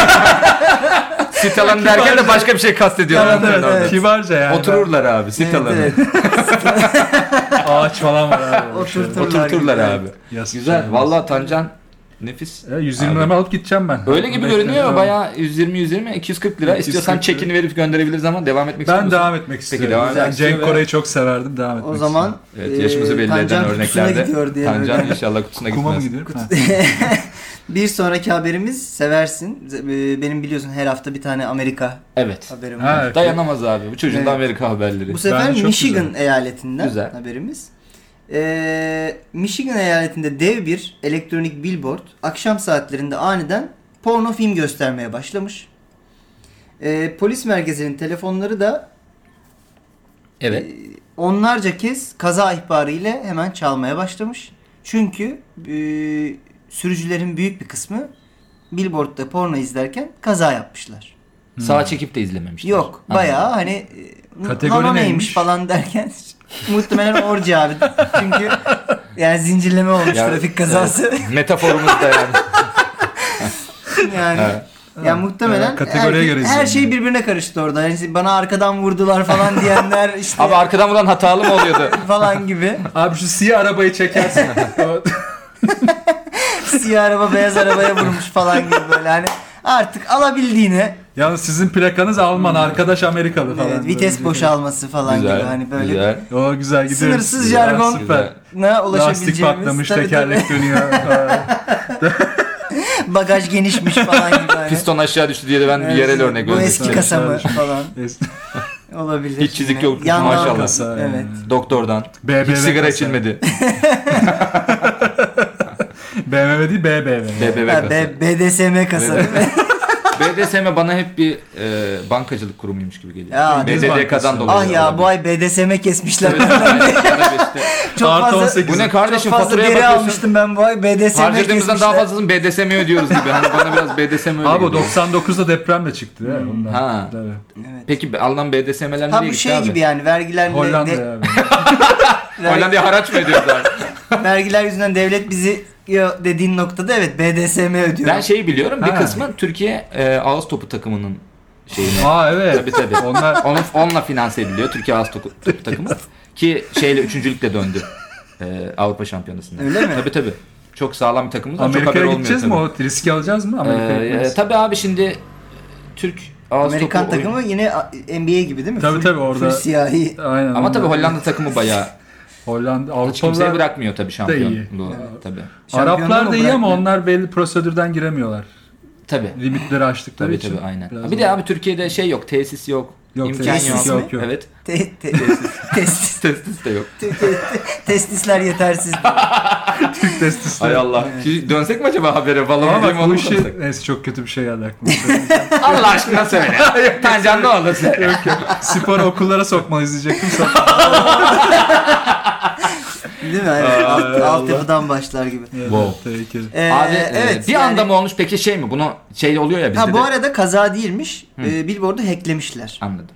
Sit alanı derken de başka bir şey kastediyorlar.
Evet, evet, evet.
Kibarca yani.
Otururlar abi sit alanı.
evet,
(laughs) Ağaç falan var (laughs) abi.
Oturturlar.
Oturturlar abi.
Yas-
Güzel. Vallahi Tancan nefis.
E, 120
Abi.
lira alıp gideceğim ben.
Öyle gibi
Bekle.
görünüyor ama
Tamam.
bayağı 120 120 240 lira.
240
İstiyorsan
lira.
çekini verip gönderebiliriz ama devam etmek istiyor
Ben
musun?
devam etmek istiyorum.
devam
Ben
edersin
Cenk
ve-
Koray'ı çok severdim. Devam etmek
O zaman
Evet yaşımızı
e,
belli
Tancan
eden
kutusuna
örneklerde.
gidiyor diye
Tancan
böyle.
inşallah kutusuna
istiyorum. Kuma mı
gitmez.
gidiyorum? Ha.
Bir sonraki haberimiz seversin. E, Benim biliyorsun her hafta bir tane Amerika
Evet.
haberim var.
Ha, evet.
Dayanamaz abi. Bu çocuğun
Evet.
da Amerika haberleri.
Bu sefer
Bence çok
Michigan eyaletinden
Güzel.
haberimiz. Ee, Michigan eyaletinde dev bir elektronik billboard akşam saatlerinde aniden porno film göstermeye başlamış. Ee, polis merkezinin telefonları da
Evet.
e, onlarca kez kaza ihbarı ile hemen çalmaya başlamış. Çünkü e, sürücülerin büyük bir kısmı billboardda porno izlerken kaza yapmışlar.
Sağa çekip de izlememişler.
Yok
Anladım.
bayağı hani e,
Kategori
nano neymiş?
neymiş?
falan derken (laughs) muhtemelen orji abi. Çünkü yani zincirleme olmuş
Ya,
trafik kazası.
evet. Metaforumuz da yani.
(laughs) yani
Evet.
yani muhtemelen
Evet, kategoriye
herkes-
göre
her
izleniyor.
şey birbirine karıştı orada. Yani bana arkadan vurdular falan
(laughs)
diyenler işte
Abi arkadan vuran hatalı mı oluyordu?
falan gibi.
Abi şu siyah
(laughs)
arabayı çekersin. O-
Siyah araba beyaz arabaya vurmuş falan gibi böyle hani artık alabildiğine
Yalnız sizin plakanız Alman,
Hmm.
arkadaş Amerikalı falan.
evet, vites boşalması (laughs) falan gibi hani böyle
güzel.
O güzel gidiyor.
Sınırsız
Ya,
jargon.
Süper.
ne ulaşabileceğimiz
Lastik patlamış,
tabii (laughs)
tekerlek dönüyor. Ha.
tabii, bagaj genişmiş falan
(laughs)
gibi. hani.
Piston aşağı düştü diye de ben bir yerel örnek
Bu
vermek
eski
isterim.
kasa mı
Sadece.
falan
Es-
olabilir.
Hiç çizik yok,
Yandan-
maşallah.
Kasa,
Evet.
yani.
Doktordan.
BBV
Hiç sigara
kasa.
içilmedi.
(laughs)
BMW değil BBV.
BBV
Ha,
kasa.
B- BDSM kasa. değil mi?
BDSM bana hep bir e, bankacılık kurumuymuş gibi geliyor. (laughs)
Ya,
İngiliz
BDDK'dan
bankası.
dolayı.
ah ya bu
olabilir.
ay BDSM kesmişler.
Evet, evet, (laughs) evet, işte.
(laughs) çok
Artı
fazla
18.
bu ne kardeşim
çok fazla
faturaya
deri
bakıyorsun.
almıştım ben bu ay BDSM
Harcadığımızdan daha
kesmişler.
fazlasını BDSM'ye ödüyoruz gibi. Hani bana biraz BDSM öyle
Abi o
geliyor.
99'da depremle çıktı.
Hmm.
ya ondan.
Ha.
Tabii.
Evet.
Peki be- alınan BDSM'ler
Ha
nereye
bu
gitti
şey
abi?
gibi yani vergilerle
Hollanda
de-
abi.
vergi-
Hollanda'ya haraç mı ediyoruz abi?
(laughs) vergiler yüzünden devlet bizi yo- dediğin noktada evet BDSM ödüyor.
ben şey şeyi biliyorum. Bir
Ha.
kısmı Türkiye e, ağız topu takımının
(laughs)
şeyine.
Aa evet.
Tabii, (laughs) tabii.
Onlar
Onu, onunla finanse ediliyor Türkiye ağız topu, topu takımı. Ki şeyle üçüncülükle döndü. E, Avrupa Şampiyonası'nda.
Öyle mi?
Tabii tabii. Çok sağlam bir takımız. ama çok haber
Amerika'ya
olmuyor
gideceğiz mi?
tabii.
O riski alacağız mı? Amerika'ya
Ee,
gideceğiz.
tabii abi şimdi Türk ağız
Amerikan
topu oyun-
takımı yine a- NBA gibi değil mi?
Tabii,
Full-
tabii, orada-
full siyahi.
Aynen.
Ama tabii
onlar-
Hollanda takımı bayağı
Hollanda,
hiç kimseye
Avrupalılar,
bırakmıyor tabii şampiyonluğu.
iyi.
Tabii.
Araplar da iyi
Şampiyonluğu
ama
bırakmıyor.
onlar belli prosedürden giremiyorlar.
Tabii.
Limitleri aştıkları
Tabii
için.
tabii aynen.
biraz
bir (laughs) de abi Türkiye'de şey yok, tesis yok,
Yok,
imkan
tesis
yok.
yok,
yok.
Evet.
Te-
(laughs)
te- testis-
Tesis de yok.
testisler yetersiz.
Türk testisi.
Hay Allah. Şimdi dönsek mi acaba habere falan
Ama
Benim
bak bu
onu
işi...
konuşsak.
Neyse çok kötü bir şey geldi
(laughs)
aklıma. (laughs)
Allah aşkına (laughs) söyle. Tancan ne olur söyle.
Spor okullara sokmalı izleyecektim. Sonra
Değil mi? Aynen.
Ay,
Alt,
Allah.
altyapıdan başlar gibi.
Wow.
Peki.
Ee,
Abi e,
evet.
bir
yani-
anda mı olmuş peki şey mi? Bunu şey oluyor ya bizde
Ha bu
de.
arada kaza değilmiş. Ee, Billboard'u hacklemişler.
Anladım.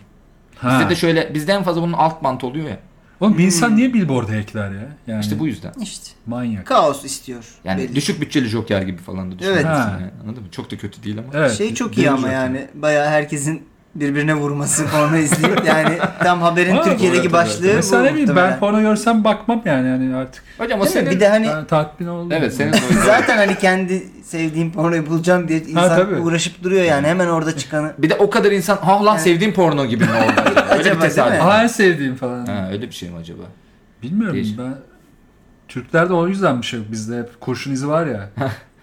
Ha.
Bizde de şöyle bizde en fazla bunun alt bantı oluyor ya.
Oğlum bir insan niye billboard'a ekler ya? Yani
Hmm. İşte bu yüzden.
İşte.
(laughs)
manyak.
Kaos istiyor.
Yani
belli.
düşük bütçeli Joker gibi falan da
Evet.
düşünüyorsun.
Ha.
Yani, anladın mı? Çok da kötü değil ama.
Evet.
şey çok iyi ama
Billboard.
yani. Bayağı herkesin birbirine vurması porno izleyip yani tam haberin
Ha,
Türkiye'deki
evet,
başlığı
evet.
Mesela
bu
ne bileyim
muhtemelen.
ben porno görsem bakmam yani, yani artık.
Hocam o
Değil mi?
senin...
Bir de hani
Ben tatmin oldum.
Evet senin de o-
(laughs) zaten hani kendi sevdiğim pornoyu bulacağım diye insan
tabii.
uğraşıp duruyor yani hemen orada çıkanı.
Bir de o kadar insan ha lan sevdiğim porno gibi mi oldu acaba? Öyle
Acaba,
bir tesadüf.
değil mi?
(laughs) Aa, en sevdiğim falan.
Ha, öyle bir şey mi acaba?
Bilmiyorum
Değişik.
ben. Türklerde o yüzden bir şey yok. Bizde hep kurşun izi
(laughs)
var ya.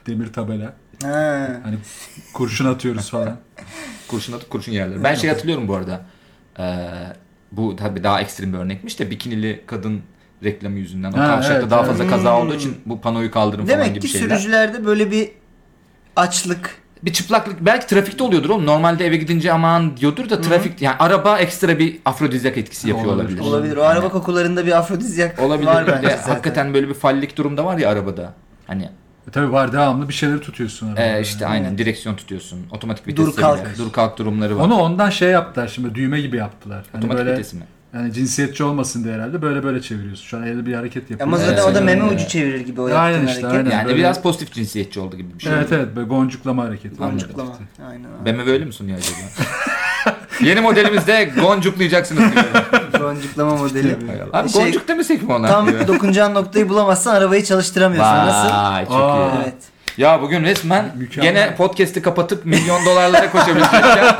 demir tabela.
Ha.
Hani kurşun atıyoruz falan.
Kurşun atıp kurşun yerler. Ben şey hatırlıyorum bu arada. Ee, bu tabii daha ekstrem bir örnekmiş de bikinili kadın reklamı yüzünden o
Ha,
kavşakta
evet,
daha
evet.
fazla kaza olduğu için bu panoyu kaldırın falan
Demek
gibi
ki
şeyler.
sürücülerde böyle bir açlık.
Bir çıplaklık belki trafikte oluyordur oğlum. Normalde eve gidince aman diyordur da trafik yani araba ekstra bir afrodizyak etkisi yapıyor
Olabilir.
olabilir.
Olabilir. O araba kokularında bir afrodizyak
Olabilir.
var
Bir de
bence zaten.
hakikaten böyle bir fallik durumda var ya arabada. Hani
E tabii var devamlı bir şeyleri tutuyorsun. arada.
e, işte aynen direksiyon tutuyorsun. Otomatik
Dur
vites
kalk.
dur kalk durumları var.
Onu ondan şey yaptılar şimdi düğme gibi yaptılar. Hani
Otomatik
böyle
vites mi?
yani cinsiyetçi olmasın diye herhalde böyle böyle çeviriyorsun. Şu an elde bir hareket
Ama
yapıyorsun.
zaten
Evet.
o da meme
Evet.
ucu çevirir gibi o
Aynen
yaptığın
işte,
hareket.
aynen.
Yani
Böyle-
biraz pozitif cinsiyetçi oldu gibi bir şey.
Evet evet böyle goncuklama hareketi.
Boncukla. Aynen.
BMW öyle mi sunuyor acaba? (laughs) Yeni modelimizde goncuklayacaksınız diyor.
Boncuklama modeli.
Abi
Şey,
goncuk demesek mi ona?
Tam dokunacağın noktayı bulamazsan arabayı çalıştıramıyorsun. Nasıl?
Vay çok
Aa.
iyi.
Evet.
Ya bugün resmen
Mükemmel.
gene podcast'i kapatıp milyon dolarlara koşabilecekken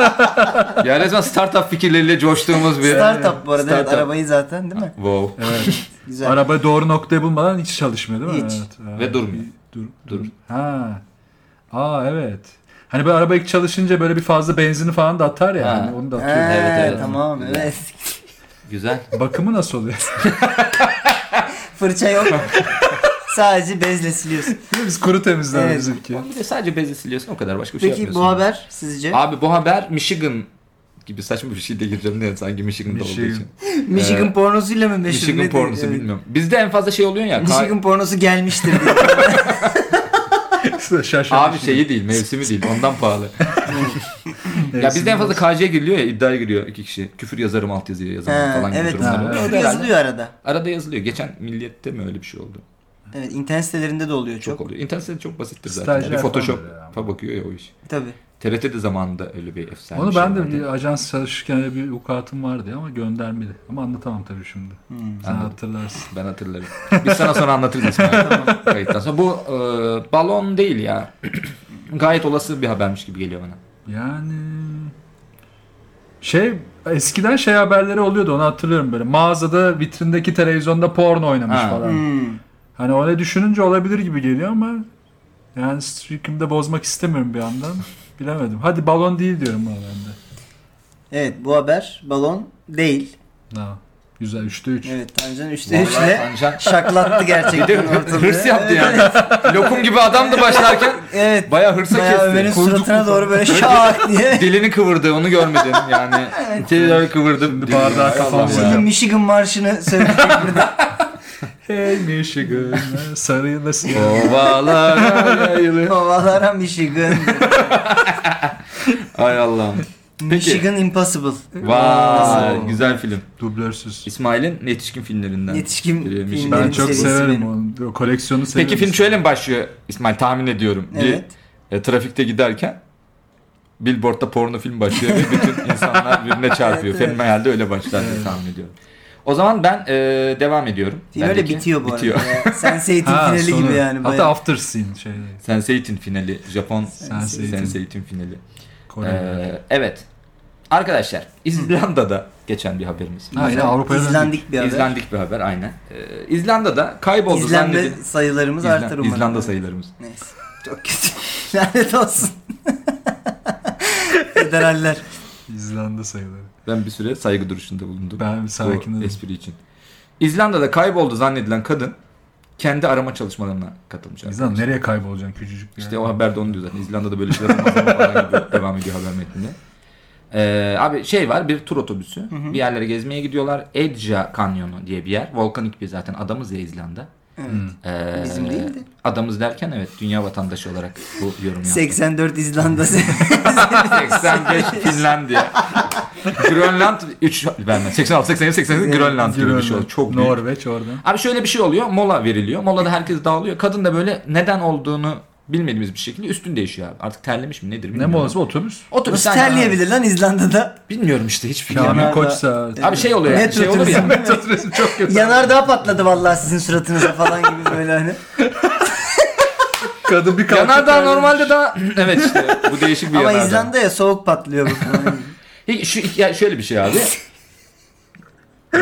(laughs)
ya resmen startup fikirleriyle coştuğumuz bir
Startup bu arada. evet,
Startup.
arabayı zaten değil mi?
Wow.
Evet.
(laughs) Güzel.
Araba doğru noktaya bulmadan hiç çalışmıyor değil mi?
Hiç.
Evet, evet.
Ve durmuyor.
Dur,
Dur.
dur. Ha. Aa evet. Hani böyle araba ilk çalışınca böyle bir fazla benzini falan da atar ya.
Ha.
Hani onu da
He,
atıyor.
Evet, evet.
Ee, Tamam
Güzel.
evet. (laughs)
Güzel.
Bakımı nasıl oluyor? (laughs)
Fırça yok. (laughs) Sadece bezle siliyorsun.
Biz kuru temizler
Evet.
bizimki.
Bir de sadece bezi siliyorsun o kadar başka bir şey
Peki
yapmıyorsun.
bu haber sizce?
Abi bu haber Michigan gibi saçma bir şey de gireceğim ne sanki Michigan'da
Michigan.
olduğu için.
Michigan pornosuyla mı meşhur?
e, Michigan
Nedir?
pornosu
Evet.
bilmiyorum. Bizde en fazla şey oluyor ya. ka-
Michigan pornosu gelmiştir diye.
Şaşırmış.
Abi şeyi değil, mevsimi değil. Ondan
(laughs)
pahalı. ya bizde en fazla KC'ye giriliyor ya, iddiaya giriyor iki kişi. Küfür yazarım, alt yazıya yazarım
Ha,
(laughs) falan gibi
evet.
durumlar
Ha,
oluyor.
Küfür
O da herhalde
yazılıyor arada.
Arada yazılıyor. Geçen Milliyet'te mi öyle bir şey oldu?
Evet internet sitelerinde de oluyor
Çok,
çok.
oluyor. İnternet sitesi çok basittir zaten.
Stajyer
bir
falan
Photoshop'a
böyle ama.
bakıyor ya o iş.
Tabii.
TRT de zamanında öyle bir efsane
Onu
bir şey
ben de
vardı.
bir ajans çalışırken öyle bir vukuatım vardı ama göndermeli. Ama anlatamam tabii şimdi. Sen
Anladım.
hatırlarsın.
(laughs) Ben hatırlarım. Biz sana sonra anlatırız
(laughs)
İsmail. Kayıttan sonra. Bu e, balon değil ya. (clears throat) Gayet olası bir habermiş gibi geliyor bana.
Yani şey eskiden şey haberleri oluyordu onu hatırlıyorum böyle. Mağazada vitrindeki televizyonda porno oynamış
Ha.
falan.
Hmm.
Hani öyle düşününce olabilir gibi geliyor ama yani streakimi de bozmak istemiyorum bir yandan. Bilemedim. Hadi balon değil diyorum ama ben de.
Evet bu haber balon değil.
Ha, güzel 3'te 3.
Evet Tancan 3'te
Vallahi
3 ile
Tancan-
şaklattı gerçekten ortalığı.
Hırs yaptı yani. Lokum gibi adamdı
(laughs)
başlarken.
Evet.
Bayağı hırsa
Bayağı
kesti.
Ömer'in
Kuyrucuk
suratına
mu
doğru böyle
şey
şak diye.
Dilini kıvırdı onu görmedin
(laughs)
yani. Dilini kıvırdı.
Şimdi bardağı
Ay
kafam
Allah'ım
vurdu.
ya.
Şimdi Michigan marşını söyleyecek burada.
Hey Michigan
(laughs)
sarıylasın.
Ovalara yayılıyor.
Havalara Michigan.
Ay Allah'ım.
Michigan Impossible.
Vay güzel film.
Dublörsüz.
İsmail'in yetişkin filmlerinden.
Yetişkin
Michigan.
filmlerin
Ben çok
serisi
severim
benim.
onu. O koleksiyonu severim.
Peki film şöyle mi başlıyor İsmail tahmin ediyorum.
Evet.
Bir e, trafikte giderken billboardda porno film başlıyor ve
(laughs)
bütün insanlar birbirine çarpıyor.
Evet, evet.
Film herhalde öyle başlar diye tahmin ediyorum. O zaman ben e, devam ediyorum.
Film öyle
Bendeki-
bitiyor bu
bitiyor.
arada. ya.
(laughs)
Sense8'in
Ha,
finali
sonu.
gibi yani.
Hatta
bayağı.
after scene şey.
Sense8'in finali. Japon
Sense8.
Sense8'in finali.
Kore.
Ee, evet. Arkadaşlar İzlanda'da geçen bir haberimiz.
ha yine Avrupa'ya döndük.
İzlandik bir haber.
İzlandik bir haber aynen. Ee, İzlanda'da kayboldu
İzlenme
zannedil-
sayılarımız
İzlan-
artar umarım.
İzlanda sayılarımız.
Neyse. Çok kötü. (laughs) Lanet olsun. (laughs) Federaller.
İzlanda sayılır.
Ben bir süre saygı duruşunda bulundum.
Ben bir
Bu
sakinim.
espri için. İzlanda'da kayboldu zannedilen kadın kendi arama çalışmalarına katılmış.
İzlanda
arkadaşlar.
nereye kaybolacaksın küçücük bir
İşte
yer.
(laughs)
o haberde onu diyor zaten. İzlanda'da böyle şeyler olmaz falan gibi devam ediyor haber metninde. Ee, abi şey var bir tur otobüsü. Bir yerlere gezmeye gidiyorlar. Edja Kanyonu diye bir yer. Volkanik bir zaten adamız ya İzlanda. Ee,
Bizim değil de.
Adamız derken evet dünya vatandaşı olarak bu yorum yaptım.
84
(laughs)
İzlanda.
85
(laughs)
Finlandiya. Grönland 3 vermem. 86 87 88 Grönland gibi bir şey oluyor. Çok büyük.
Norveç orada.
Abi şöyle bir şey oluyor. Mola veriliyor. Molada herkes dağılıyor. Kadın da böyle neden olduğunu bilmediğimiz bir şekilde üstün değişiyor abi. Artık terlemiş mi nedir
Ne
bilmiyorum.
molası otobüs.
Otobüs
Nasıl terleyebilir lan İzlanda'da?
Bilmiyorum işte hiçbir fikrim yok.
Kamil
Yanarda-
Koçsa.
Abi şey oluyor.
Metro
şey olur ya. (laughs)
turizmi.
(laughs) Metrotresim çok kötü.
Yanardağ patladı vallahi sizin suratınıza falan gibi böyle hani.
Kadın bir kalktı.
Yanardağ
terlemiş.
normalde daha evet işte bu değişik (laughs) bir
Ama
yanardağ.
İzlanda'ya soğuk patlıyor bu. falan.
Hiç- şu, ya şöyle bir şey abi.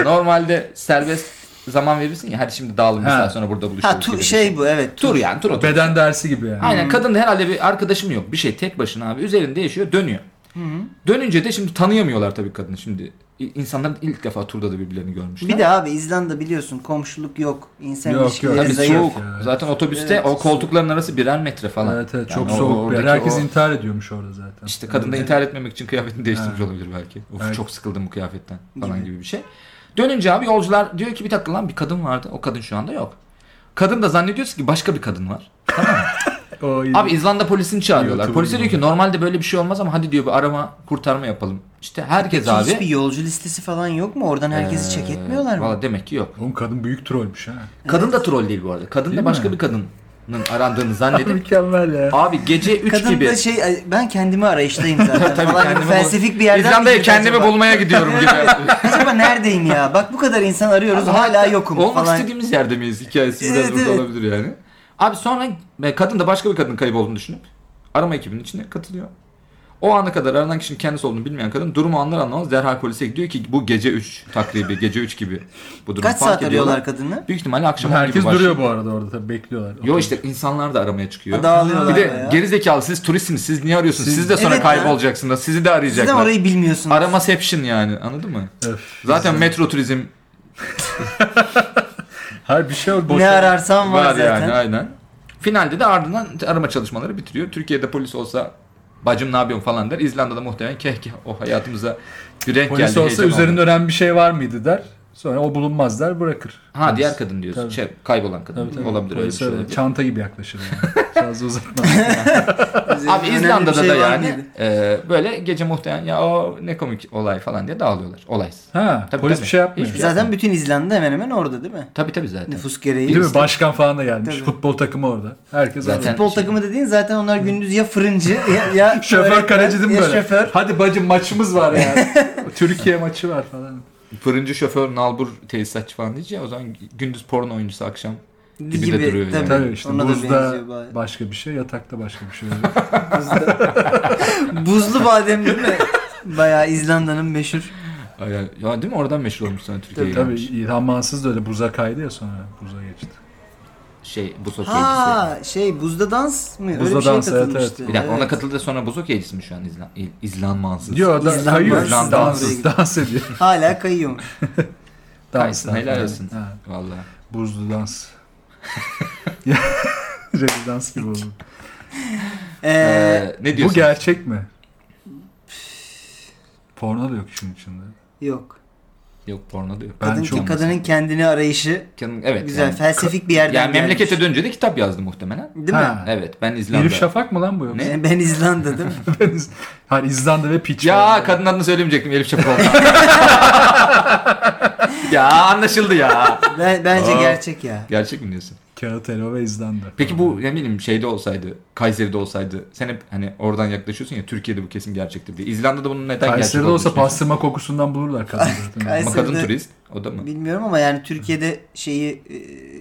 Normalde serbest zaman verirsin ya hadi şimdi dağılın bir
Ha.
saat sonra burada
ha
buluşuruz. gibi
tu-
(laughs) bir
şey bu evet.
Tur yani tur otur.
Beden dersi gibi yani.
Aynen kadın da herhalde bir arkadaşım yok. Bir şey tek başına abi. Üzerinde yaşıyor dönüyor. Dönünce de şimdi tanıyamıyorlar tabii kadını şimdi. İ- insanların ilk defa turda da birbirlerini görmüşler.
Bir de abi İzlanda biliyorsun komşuluk yok. İnsan
Yok, yok.
ilişkileri
Tabii
zayıf.
soğuk.
ya.
Zaten otobüste
Evet.
o koltukların arası birer metre falan.
Evet evet
Yani
çok
o-
soğuk bir yer.
oradaki
Herkes
o-
intihar ediyormuş orada zaten.
İşte kadın da
Evet.
intihar etmemek için kıyafetini değiştirmiş
Ha.
olabilir belki. Of
Belki.
çok sıkıldım bu kıyafetten falan
Gibi.
gibi. bir şey. Dönünce abi yolcular diyor ki bir dakika lan bir kadın vardı. O kadın şu anda yok. Kadın da zannediyorsun ki başka bir kadın var.
O iyi.
Abi İzlanda polisini çağırıyorlar.
YouTuber
Polise
gibi.
diyor ki normalde böyle bir şey olmaz ama hadi diyor bir arama kurtarma yapalım. İşte herkes
Peki Hiçbir
abi. Ee,
yolcu listesi falan yok mu? Oradan herkesi çek etmiyorlar mı?
Valla demek ki yok.
Oğlum kadın büyük trollmüş ha.
Kadın da troll değil bu arada. Kadın
Değil
da başka
mi?
bir kadının arandığını zannedip.
(laughs) Mükemmel ya.
abi gece 3
Kadın
gibi.
da şey "Ay, ben kendimi arayıştayım zaten
(laughs) Tabii
falan gibi
kendimi
felsefik bir yerden mi
İzlanda'ya
girdi
kendimi
acaba?
bulmaya gidiyorum
(laughs)
gibi.
Acaba neredeyim ya? Bak bu kadar insan arıyoruz
Abi
hala
hatta
yokum
Olmak
falan.
istediğimiz yerde miyiz? Hikayesi biraz
Evet,
burada
evet.
olabilir yani. Abi sonra e, kadın da başka bir kadının kayıp olduğunu düşünüp arama ekibinin içine katılıyor. O ana kadar aranan kişinin kendisi olduğunu bilmeyen kadın durumu anlar anlamaz derhal polise gidiyor ki bu gece 3 takribi
(laughs)
gece 3 gibi bu durum
Kaç
fark
saat arıyorlar
ediyorlar.
kadını?
Büyük ihtimalle akşam on gibi
Herkes
başlıyor.
duruyor bu arada orada tabii bekliyorlar.
Yo işte insanlar da aramaya çıkıyor.
Dağılıyorlar
bir de
ya.
gerizekalı siz turistsiniz siz niye arıyorsunuz? Siz, de sonra
Evet ya.
kaybolacaksınız. Sizi de
Siz de
arayacaklar.
orayı bilmiyorsunuz.
Aramaseption yani anladın mı?
Öf.
Zaten metro turizm
Her bir şey oldu.
ne ararsan var,
Var
zaten.
yani aynen. Finalde de ardından arama çalışmaları bitiriyor. Türkiye'de polis olsa bacım ne yapıyorsun falan der. İzlanda'da muhtemelen keh keh o hayatımıza bir renk
Polis
geldi.
olsa
heyecan
üzerinde
oldu.
önemli bir şey var mıydı der. Sonra o bulunmaz der bırakır.
Ha diğer kadın diyorsun.
Tabii.
Şey, kaybolan kadın
Tabii, tabii.
olabilir öyle bir
Polis
şey
öyle.
olabilir.
Çanta gibi yaklaşır
(laughs)
yani. Fazla uzatmaz.
Abi
Önemli bir
İzlanda'da
şey
da
var
yani
mıydı?
e, böyle gece muhtemelen ya o ne komik olay falan diye dağılıyorlar. Olaysız.
ha,
Tabii,
polis
tabii.
bir şey yapmıyor.
Hiçbir şey
Zaten bütün İzlanda hemen hemen orada değil mi?
Tabii tabii zaten.
Nüfus gereği.
Değil mi? Başkan falan da gelmiş.
Tabii.
Futbol takımı orada. Herkes
Zaten-
orada.
Futbol takımı dediğin zaten onlar gündüz ya fırıncı ya,
(laughs)
ya
Şoför
öğretmen,
kaleci değil mi
ya
böyle?
şoför.
Hadi bacım maçımız
(laughs)
var ya. Türkiye maçı var falan.
Fırıncı şoför, nalbur, tesisatçı falan diyeceğiz ya. O zaman gündüz porno oyuncusu akşam
gibi,
de duruyor
tabii.
yani.
Tabii işte
Ona da
buzda
benziyor bayağı.
başka bir şey, yatakta başka bir şey.
(laughs)
(laughs) Buzlu badem değil mi? Bayağı İzlanda'nın meşhur.
Ay, ay. e, ya değil mi? Oradan meşhur olmuş sana Türkiye'ye
tabii tabii
gelmiş.
İlhan Mansız da öyle buza kaydı ya sonra buza geçti.
Şey bu sosyolojisi.
Ha şey buzda dans mı? Öyle
Buzda
bir şey
dans, evet,
katılmıştı.
evet.
Bir dakika ona katıldı sonra bozuk yedisi mi şu an İzlan, İl- İzlan Mansız?
Diyor da
İzlan
kayıyor.
Mansız
Dans,
dansa
dans,
gidiyor.
dans ediyor.
Hala kayıyormuş.
Dans,
Kaysın,
dans
helal
falan.
olsun.
Ha,
Valla. (laughs)
buzlu dans. Ya, Reggae dans gibi oldu.
Ee,
ne
Bu
diyorsun?
gerçek mi? Porno da yok işin içinde.
yok.
Yok porno da yok.
Ben
Kadın,
çok-
kadının kendini arayışı
Kadın- evet.
güzel
Yani,
felsefik bir yerden
yani memlekete
gelmiş.
dönünce de kitap yazdı muhtemelen.
Değil mi?
Ha.
Evet ben İzlanda.
Elif Şafak mı lan bu (laughs) yoksa?
Ben İzlanda
(laughs)
değil mi?
Hani İzlanda ve piç.
Ya kadın adını söylemeyecektim Elif Şafak
(laughs)
oldu. ya anlaşıldı ya.
Ben, bence gerçek ya.
Gerçek mi diyorsun?
Kağıt Elo ve İzlanda.
Peki bu ne bileyim şeyde olsaydı, Kayseri'de olsaydı. Sen hep hani oradan yaklaşıyorsun ya Türkiye'de bu kesin gerçektir diye. İzlanda'da bunun neden gerçek
Kayseri'de
olduğunu
olsa
düşünüyorsun?
pastırma
(laughs)
kokusundan bulurlar kadın zaten.
Ama kadın
Kayseri'de-
turist. O da mı?
Bilmiyorum ama yani Türkiye'de şeyi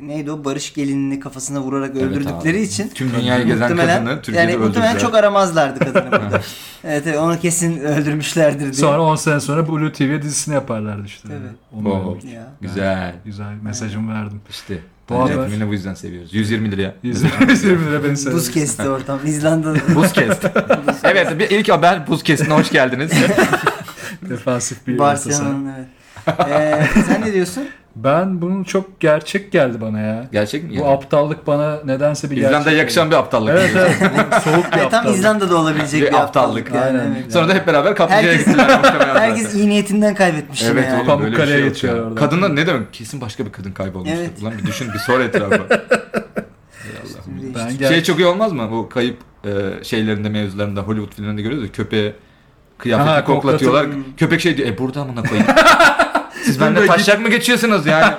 e, neydi o barış gelinini kafasına vurarak
Evet
öldürdükleri
abi.
için
Tüm dünyayı gezen
muhtemelen
kadını Türkiye'de
yani muhtemelen
öldürdüler.
çok aramazlardı
(laughs)
kadını burada. evet, evet onu kesin öldürmüşlerdir diye.
Sonra 10 sene sonra Blue TV dizisini yaparlardı işte.
Tabii.
Onu
Oo.
verdik.
Ya.
Güzel.
Güzel mesajımı verdim.
İşte.
Bu
Bence
haber-
filmini bu yüzden seviyoruz. 120 liraya.
(laughs) 120 lira beni sevdi.
Buz kesti ortam.
(laughs)
İzlanda'da.
Buz
(laughs)
kest. evet bir ilk haber buz kestine hoş geldiniz.
Defansif bir orta saha.
Barcelona'nın evet. Ee, sen ne diyorsun?
Ben bunun çok gerçek geldi bana ya.
Gerçek mi?
Bu
Yani?
aptallık bana nedense bir
İzlanda'ya
gerçek
yakışan bir şey. aptallık.
Evet evet. Bu
(laughs)
Soğuk bir
Yani tam
aptallık.
İzlanda'da olabilecek
Bir
bir aptallık.
aptallık.
yani,
Aynen.
evet.
Sonra da hep beraber kaplıcaya
Herkes- (laughs)
gittiler. muhtemelen zaten.
Herkes iyi niyetinden kaybetmiş yine
Evet
yani.
oğlum böyle bir
Pamukkale'ye
şey yok
yetiyor
ya.
orada.
Kadına ne demek? Kesin başka bir kadın kaybolmuştur.
Evet.
Ulan bir düşün bir sor etrafa.
(laughs)
Ey Allah'ım.
Şimdi işte.
Ben
Şey
gerçek.
çok iyi olmaz mı? Bu kayıp e, şeylerinde mevzularında Hollywood filmlerinde görüyoruz ya köpeğe kıyafeti
Aha,
koklatıyorlar.
koklatın.
Köpek şey diyor e burada amına koyayım. Siz benimle taşak mı geçiyorsunuz yani?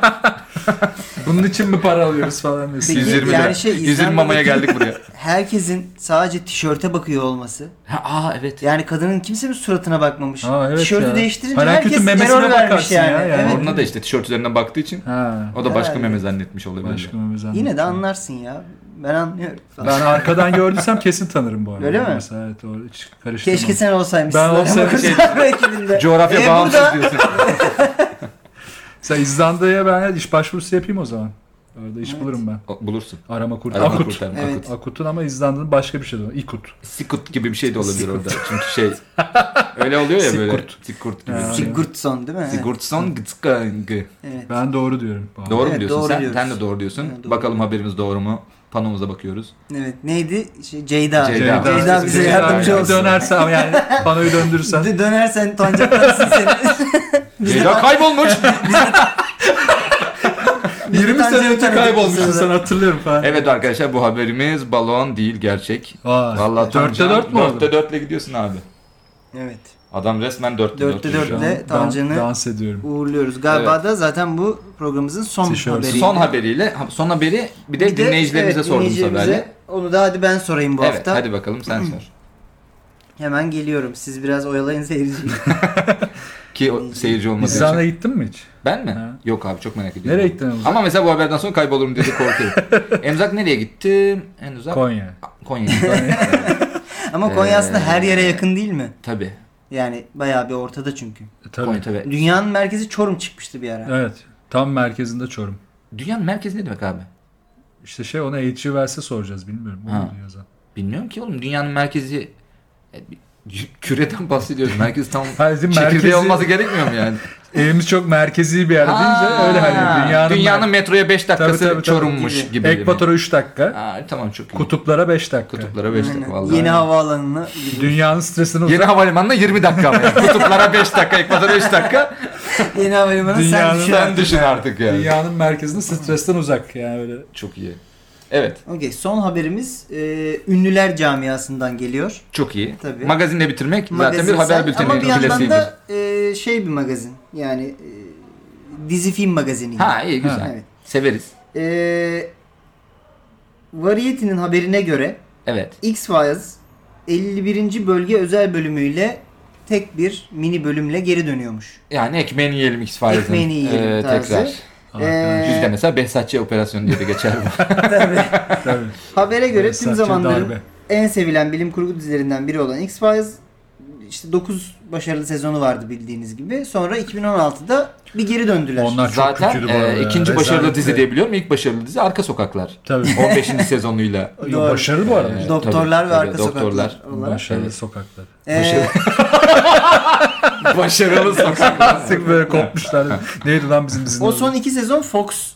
Bunun için mi para alıyoruz falan diyorsun.
Peki,
120
yani
lira.
şey,
120 mamaya geldik buraya.
(laughs) Herkesin sadece tişörte bakıyor olması.
Ha, aa evet.
Yani kadının kimsenin suratına bakmamış.
Aa, evet
Tişörtü
ya.
değiştirince
Hala
herkes
kötü memesine
terör vermiş
bakarsın
yani.
ya, yani.
Evet.
Oruna da işte tişört üzerinden baktığı için
Ha.
o da başka
Herhalde.
meme zannetmiş oluyor bence.
Başka mı bizden?
Yine de anlarsın ya. Ben anlıyorum. Falan.
Ben arkadan gördüysem kesin tanırım bu arada.
Öyle mi?
Mesela evet doğru hiç karıştırmam.
Keşke sen olsaymışsın.
Ben
Ama
olsaydım
şey-
kurtarma ekibinde.
Coğrafya
E,
bağımsız
burada-
diyorsun.
Sen İzlanda'ya ben iş başvurusu yapayım o zaman. Orada iş bulurum ben.
O, Bulursun.
Arama kurt.
Arama
Akut.
kurtarma,
Evet.
akut.
Akut'un ama İzlanda'nın başka bir şey olduğunu. Ikut.
Sikut gibi bir şey de olabilir orada. Çünkü şey öyle oluyor ya böyle.
Sikurt.
Sikurt gibi. şey.
Ha.
Sigurdsson değil mi? Evet.
Sigurdsson Gitskangı.
Evet.
Ben doğru diyorum. bu arada.
Doğru mu
Evet,
diyorsun
doğru
sen?
diyoruz.
Sen de doğru diyorsun.
Evet, doğru.
Bakalım haberimiz doğru mu? Panomuza bakıyoruz.
evet. Neydi? Şey, Ceyda.
Ceyda. Ceyda
bize
Ceyda.
yardımcı olsun.
Dönerse ama yani
(laughs)
panoyu döndürürsen.
Dö- Dönersen tancaklarısın
(laughs)
seni. Biz de
Ceyda
tan- (laughs)
kaybolmuş.
biz de
20 sene
tancağı
önce
tanıdık bu
kaybolmuşsun
sırada.
sen hatırlıyorum falan.
evet arkadaşlar bu haberimiz balon değil gerçek.
Aa,
Vallahi tam
dörtte
can-
dört mü
Dörtte
oldu?
dörtle gidiyorsun abi.
Evet.
Adam resmen dörtte
Dörtte
dörtte.
dört.
gidiyor.
dörtte
Dan-
Tancan'ı-
Dans ediyorum.
Uğurluyoruz. Galiba
Evet.
da zaten bu programımızın son
Tişört.
haberi.
Son haberiyle, ha, son haberi bir de, dinleyicilerimize
evet,
sordum
dinleyicilerimize.
haberle.
Onu da hadi ben sorayım bu
Evet
hafta.
hadi bakalım sen sor.
Hemen geliyorum. Siz biraz oyalayın
(laughs)
seyirciyi.
Ki o seyirci olmadığı için.
İzlanda'ya gittin mi hiç?
Ben mi?
Ha.
Yok abi çok merak ediyorum.
Nereye gittin en uzak?
Ama mesela bu haberden sonra kaybolurum diye de korkuyorum.
(laughs)
en uzak nereye gitti? En uzak
Konya.
Konya.
(laughs)
Ama Konya aslında
Ee,
her yere yakın değil mi?
tabii.
Yani bayağı bir ortada çünkü.
E, tabii.
Konya tabii.
Dünyanın merkezi Çorum çıkmıştı bir ara.
Evet. Tam merkezinde Çorum.
Dünyanın merkezi ne demek abi?
İşte şey ona eğitici verse soracağız bilmiyorum. Onu
Ha.
mu diyor zaten.
Bilmiyorum ki oğlum dünyanın merkezi E, bir- küreden bahsediyoruz. Merkez
(laughs)
tam
Hayır,
çekirdeği
merkezi-
olması gerekmiyor mu
(laughs)
yani?
Evimiz çok merkezi bir yer deyince
Aa,
öyle hani dünyanın,
metroya 5 dakikası
Tabii, tabii, tabii.
çorummuş
Gibi.
gibi. demek.
ekvatora 3 dakika,
Aa, tamam çok iyi.
kutuplara 5 dakika.
Kutuplara 5
Aynen.
dakika vallahi.
Yeni
Yeni,
havaalanına gibi.
Dünyanın stresini uzak.
Yeni havalimanına 20 dakika ama yani. Kutuplara 5 dakika, ekvatora 3
(laughs)
dakika.
Yeni havalimanı sen
Dünyanın
düşün.
Sen düşün artık yani.
Dünyanın merkezinde stresten uzak yani öyle.
Çok iyi. Evet,
Okey son haberimiz e, ünlüler camiasından geliyor.
çok iyi.
Tabii.
Magazinle bitirmek zaten bir
Magazinsel
haber
Ama bir
bülteninin
yandan
klasiğidir.
da e, şey bir magazin. Yani e, dizi film magazini. gibi.
Ha iyi güzel.
Evet.
Severiz.
E, Variety'nin haberine göre
Evet.
X-Files 51. bölge özel bölümüyle tek bir mini bölümle geri dönüyormuş.
Yani ekmeğini yiyelim X-Files'in.
Ekmeğini yiyelim
Ee,
tarzı.
tekrar.
Ah,
Ee,
Bizde mesela Behzatçı operasyonu diye de geçer bu.
Tabii.
habere göre tüm
Sertçe
zamanların
darbe.
en sevilen bilim kurgu dizilerinden biri olan X-Files işte 9 başarılı sezonu vardı bildiğiniz gibi. Sonra 2016'da bir geri döndüler.
Onlar (laughs) çok
Zaten
kötüydü bu arada.
e,
ya.
ikinci başarılı
Rezalet
dizi
ve-
diye biliyorum. İlk başarılı dizi Arka Sokaklar.
Tabii.
15.
(laughs)
sezonuyla.
Ya,
Doğru.
Başarılı bu arada.
Evet.
Doktorlar
Tabii,
ve
tabii,
arka
doktorlar.
sokaklar olarak.
Başarılı
Evet.
sokaklar.
Ee,
(laughs)
Başarılı sokaklar.
Artık böyle kopmuşlar. Neydi lan bizim dizinin?
o
adı?
son iki sezon Fox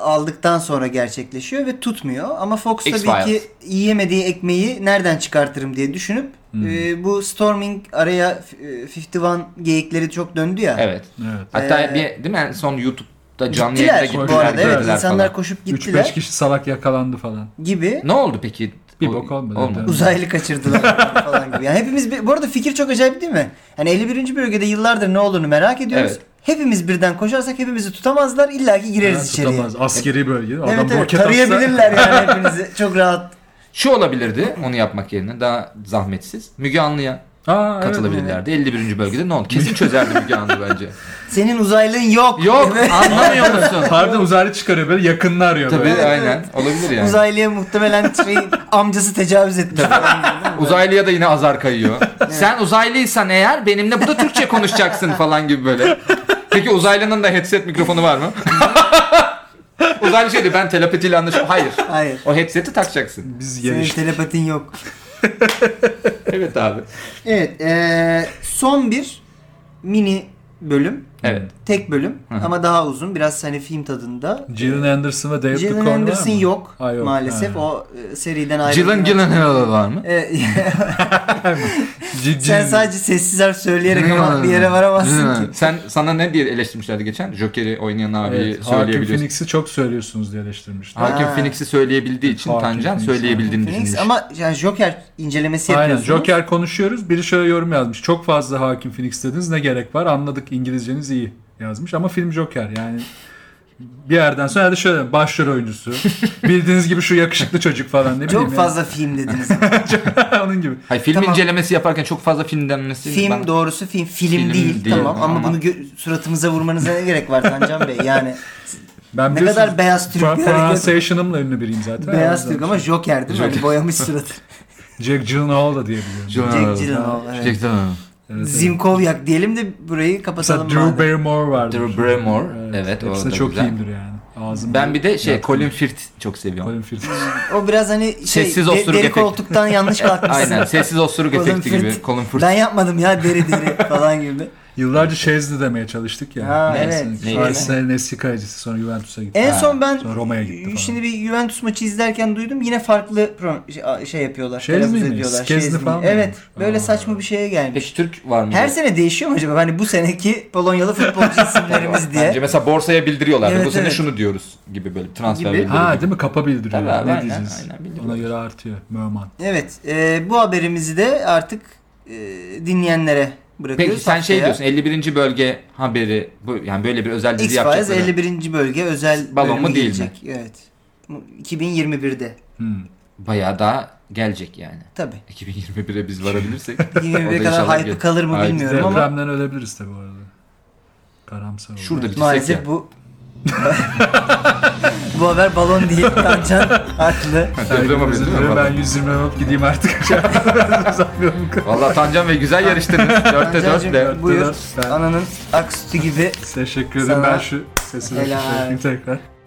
aldıktan sonra gerçekleşiyor ve tutmuyor. Ama Fox tabii
X-Files.
ki yiyemediği ekmeği nereden çıkartırım diye düşünüp
Hmm.
e, bu Storming araya e, 51 geyikleri çok döndü ya.
evet.
Evet.
Hatta
Ee,
bir değil mi en son YouTube'da canlı
Gittiler
yayında gittiler.
bu arada evet
geldiler
insanlar
falan.
koşup
3-5
gittiler
kişi salak yakalandı falan.
gibi.
Ne oldu peki?
Bir
O-
bok olmadı.
Uzaylı kaçırdılar (laughs) falan gibi. Yani hepimiz bir- bu arada fikir çok acayip değil mi? Yani 51. bölgede yıllardır ne olduğunu merak ediyoruz.
Evet.
Hepimiz birden koşarsak hepimizi tutamazlar. İlla ki gireriz
Ha,
içeriye.
tutamaz. Askeri bölge. Adam
Evet evet
roket atsa-
tarayabilirler yani hepinizi. Çok rahat.
Şu olabilirdi onu yapmak yerine daha zahmetsiz. Müge Anlı'ya
Aa, evet.
katılabilirlerdi. 51. bölgede ne oldu?
(laughs)
Kesin çözerdi Müge Anlı bence.
Senin uzaylığın yok.
Yok
Evet.
anlamıyor musun?
Harbiden uzaylı çıkarıyor böyle yakınını arıyor
Tabii
böyle.
aynen. Olabilir yani.
Uzaylıya muhtemelen
(laughs)
şey, amcası tecavüz etmiş.
Uzaylıya da yine
(laughs)
azar kayıyor. Sen uzaylıysan eğer benimle burada Türkçe konuşacaksın falan gibi böyle. Peki uzaylının da headset mikrofonu var mı? (laughs) Uzaylı şey diyor ben telepatiyle anlaşıyorum. Hayır.
Hayır.
O headseti takacaksın.
Biz
Senin
yarıştık.
telepatin yok.
Evet abi.
Evet. eee, son bir mini bölüm.
Evet.
Tek bölüm
Hı hı.
ama daha uzun. Biraz hani film tadında.
Gillian Anderson ve Dave
Gillian
Duchovny var
Anderson
mı?
yok,
Ha, yok.
maalesef.
Ha.
O e, seriden ayrı.
Gillen Gillen helal var mı?
(laughs)
G-
Sen
G-
sadece sessiz harf söyleyerek ama bir yere varamazsın ki.
Hı.
Sen sana ne diye eleştirmişlerdi geçen? Joker'i oynayan abiyi
Evet, Joaquin
söyleyebiliyorsun.
Phoenix'i çok söylüyorsunuz diye eleştirmişler.
Hakim
Ha.
Phoenix'i söyleyebildiği için
Joaquin
Tancan
Phoenix,
söyleyebildiğini
Phoenix
düşünmüş.
ama yani Joker incelemesi
Aynen
yapıyorsunuz.
Joker konuşuyoruz. Biri şöyle yorum yazmış. Çok fazla Hakim Phoenix dediniz ne gerek var anladık İngilizceniz iyi yazmış. Ama film Joker yani bir yerden sonra hadi şöyle başrol
(laughs)
oyuncusu. Bildiğiniz gibi şu yakışıklı çocuk falan ne bileyim.
Çok fazla film dediniz.
Yani. (laughs) Onun gibi.
Hayır film
Tamam.
incelemesi yaparken çok fazla film denmesi.
film
bana-
doğrusu film film,
Film
değil,
değil,
tamam ama,
ama-
bunu gö- suratımıza vurmanıza ne gerek var Tancan Bey?
(laughs)
Yani ne
Ben
kadar
biliyorsunuz,
beyaz Türk bir
Pro-
hareket.
pronunciation'ımla ünlü biriyim zaten.
Beyaz
Yalnız
Türk ama Joker değil mi? Hani boyamış
(laughs)
suratı.
Jack Gyllenhaal da diyebiliyorum.
Gillen
Jack
helal.
Gyllenhaal. Evet.
Jack Gyllenhaal.
Evet, evet.
Zimkovyak diyelim de burayı
Mesela
kapatalım.
Drew
madem.
Barrymore vardı.
Drew Barrymore. Evet, o
Hepsinde
da
çok
güzel.
iyiyimdir yani. Ağzım
Ben bir de şey
Yaptım.
Colin Firth çok seviyorum.
Colin Firth.
O biraz hani şey,
Sessiz
de-
osuruk
deri
efekti.
koltuktan
(laughs)
yanlış kalkmışsın.
Aynen sessiz osuruk
Colin
efekti gibi.
Firth.
Colin Firth.
Ben yapmadım ya deri deri falan gibi.
Yıllarca Şezli demeye çalıştık ya.
Ha,
Neyse,
evet.
neyse.
Arsenal'in eski kalecisi sonra Juventus'a gitti.
En
Ha,
son ben
sonra Roma'ya gitti falan.
şimdi bir Juventus maçı izlerken duydum yine farklı pro- şey- a- şey yapıyorlar.
Şezli
telaffuz
mi?
ediyorlar.
Skezni
Şezli mi?
falan mı
Evet.
olmuş?
Böyle
Aa.
saçma bir şeye gelmiş.
Peki Türk var mı?
Her sene değişiyor mu acaba? Hani bu seneki Polonyalı
(laughs)
futbolcu isimlerimiz
Bence
diye.
mesela borsaya bildiriyorlar.
Evet,
bu sene
evet.
şunu diyoruz gibi böyle transfer
Gibi.
bildiriyor.
Ha değil mi? Kapa bildiriyor.
Tabii abi,
ne
aynen,
diyeceğiz?
aynen, bildiriyor.
Ona göre artıyor. Merman.
Evet. e, bu haberimizi de artık e, dinleyenlere bırakıyoruz.
Peki sen şey
Haftaya
diyorsun 51. bölge haberi bu yani böyle bir özel dizi
X-Files
yapacakları.
51. bölge özel
Balon
bölümü
mu değil mi?
gelecek. Evet. Bu 2021'de.
Hmm.
Bayağı daha gelecek yani. (laughs)
Tabii.
2021'e biz varabilirsek. O da
2021'e
inşallah
kadar hype
gelir.
kalır mı
Haydi.
bilmiyorum ama
Depremden ölebiliriz tabii bu arada. Karamsar oldu.
Şurada bir
maalesef
ya.
bu (laughs) bu haber balon değil. Tancan haklı.
Deprem haberi
Özür
değil mi?
dilerim, Ben
Pardon.
120 alıp
(laughs)
gideyim artık. Uzatmıyorum.
Vallahi Tancan Bey güzel
(laughs)
yarıştınız. Dörtte
Tancancığım,
dörtle.
buyur.
dört, ben-
Ananın aksütü gibi
Teşekkür ederim.
Sana-
Ben şu sesini
Helal.
şey yapayım tekrar.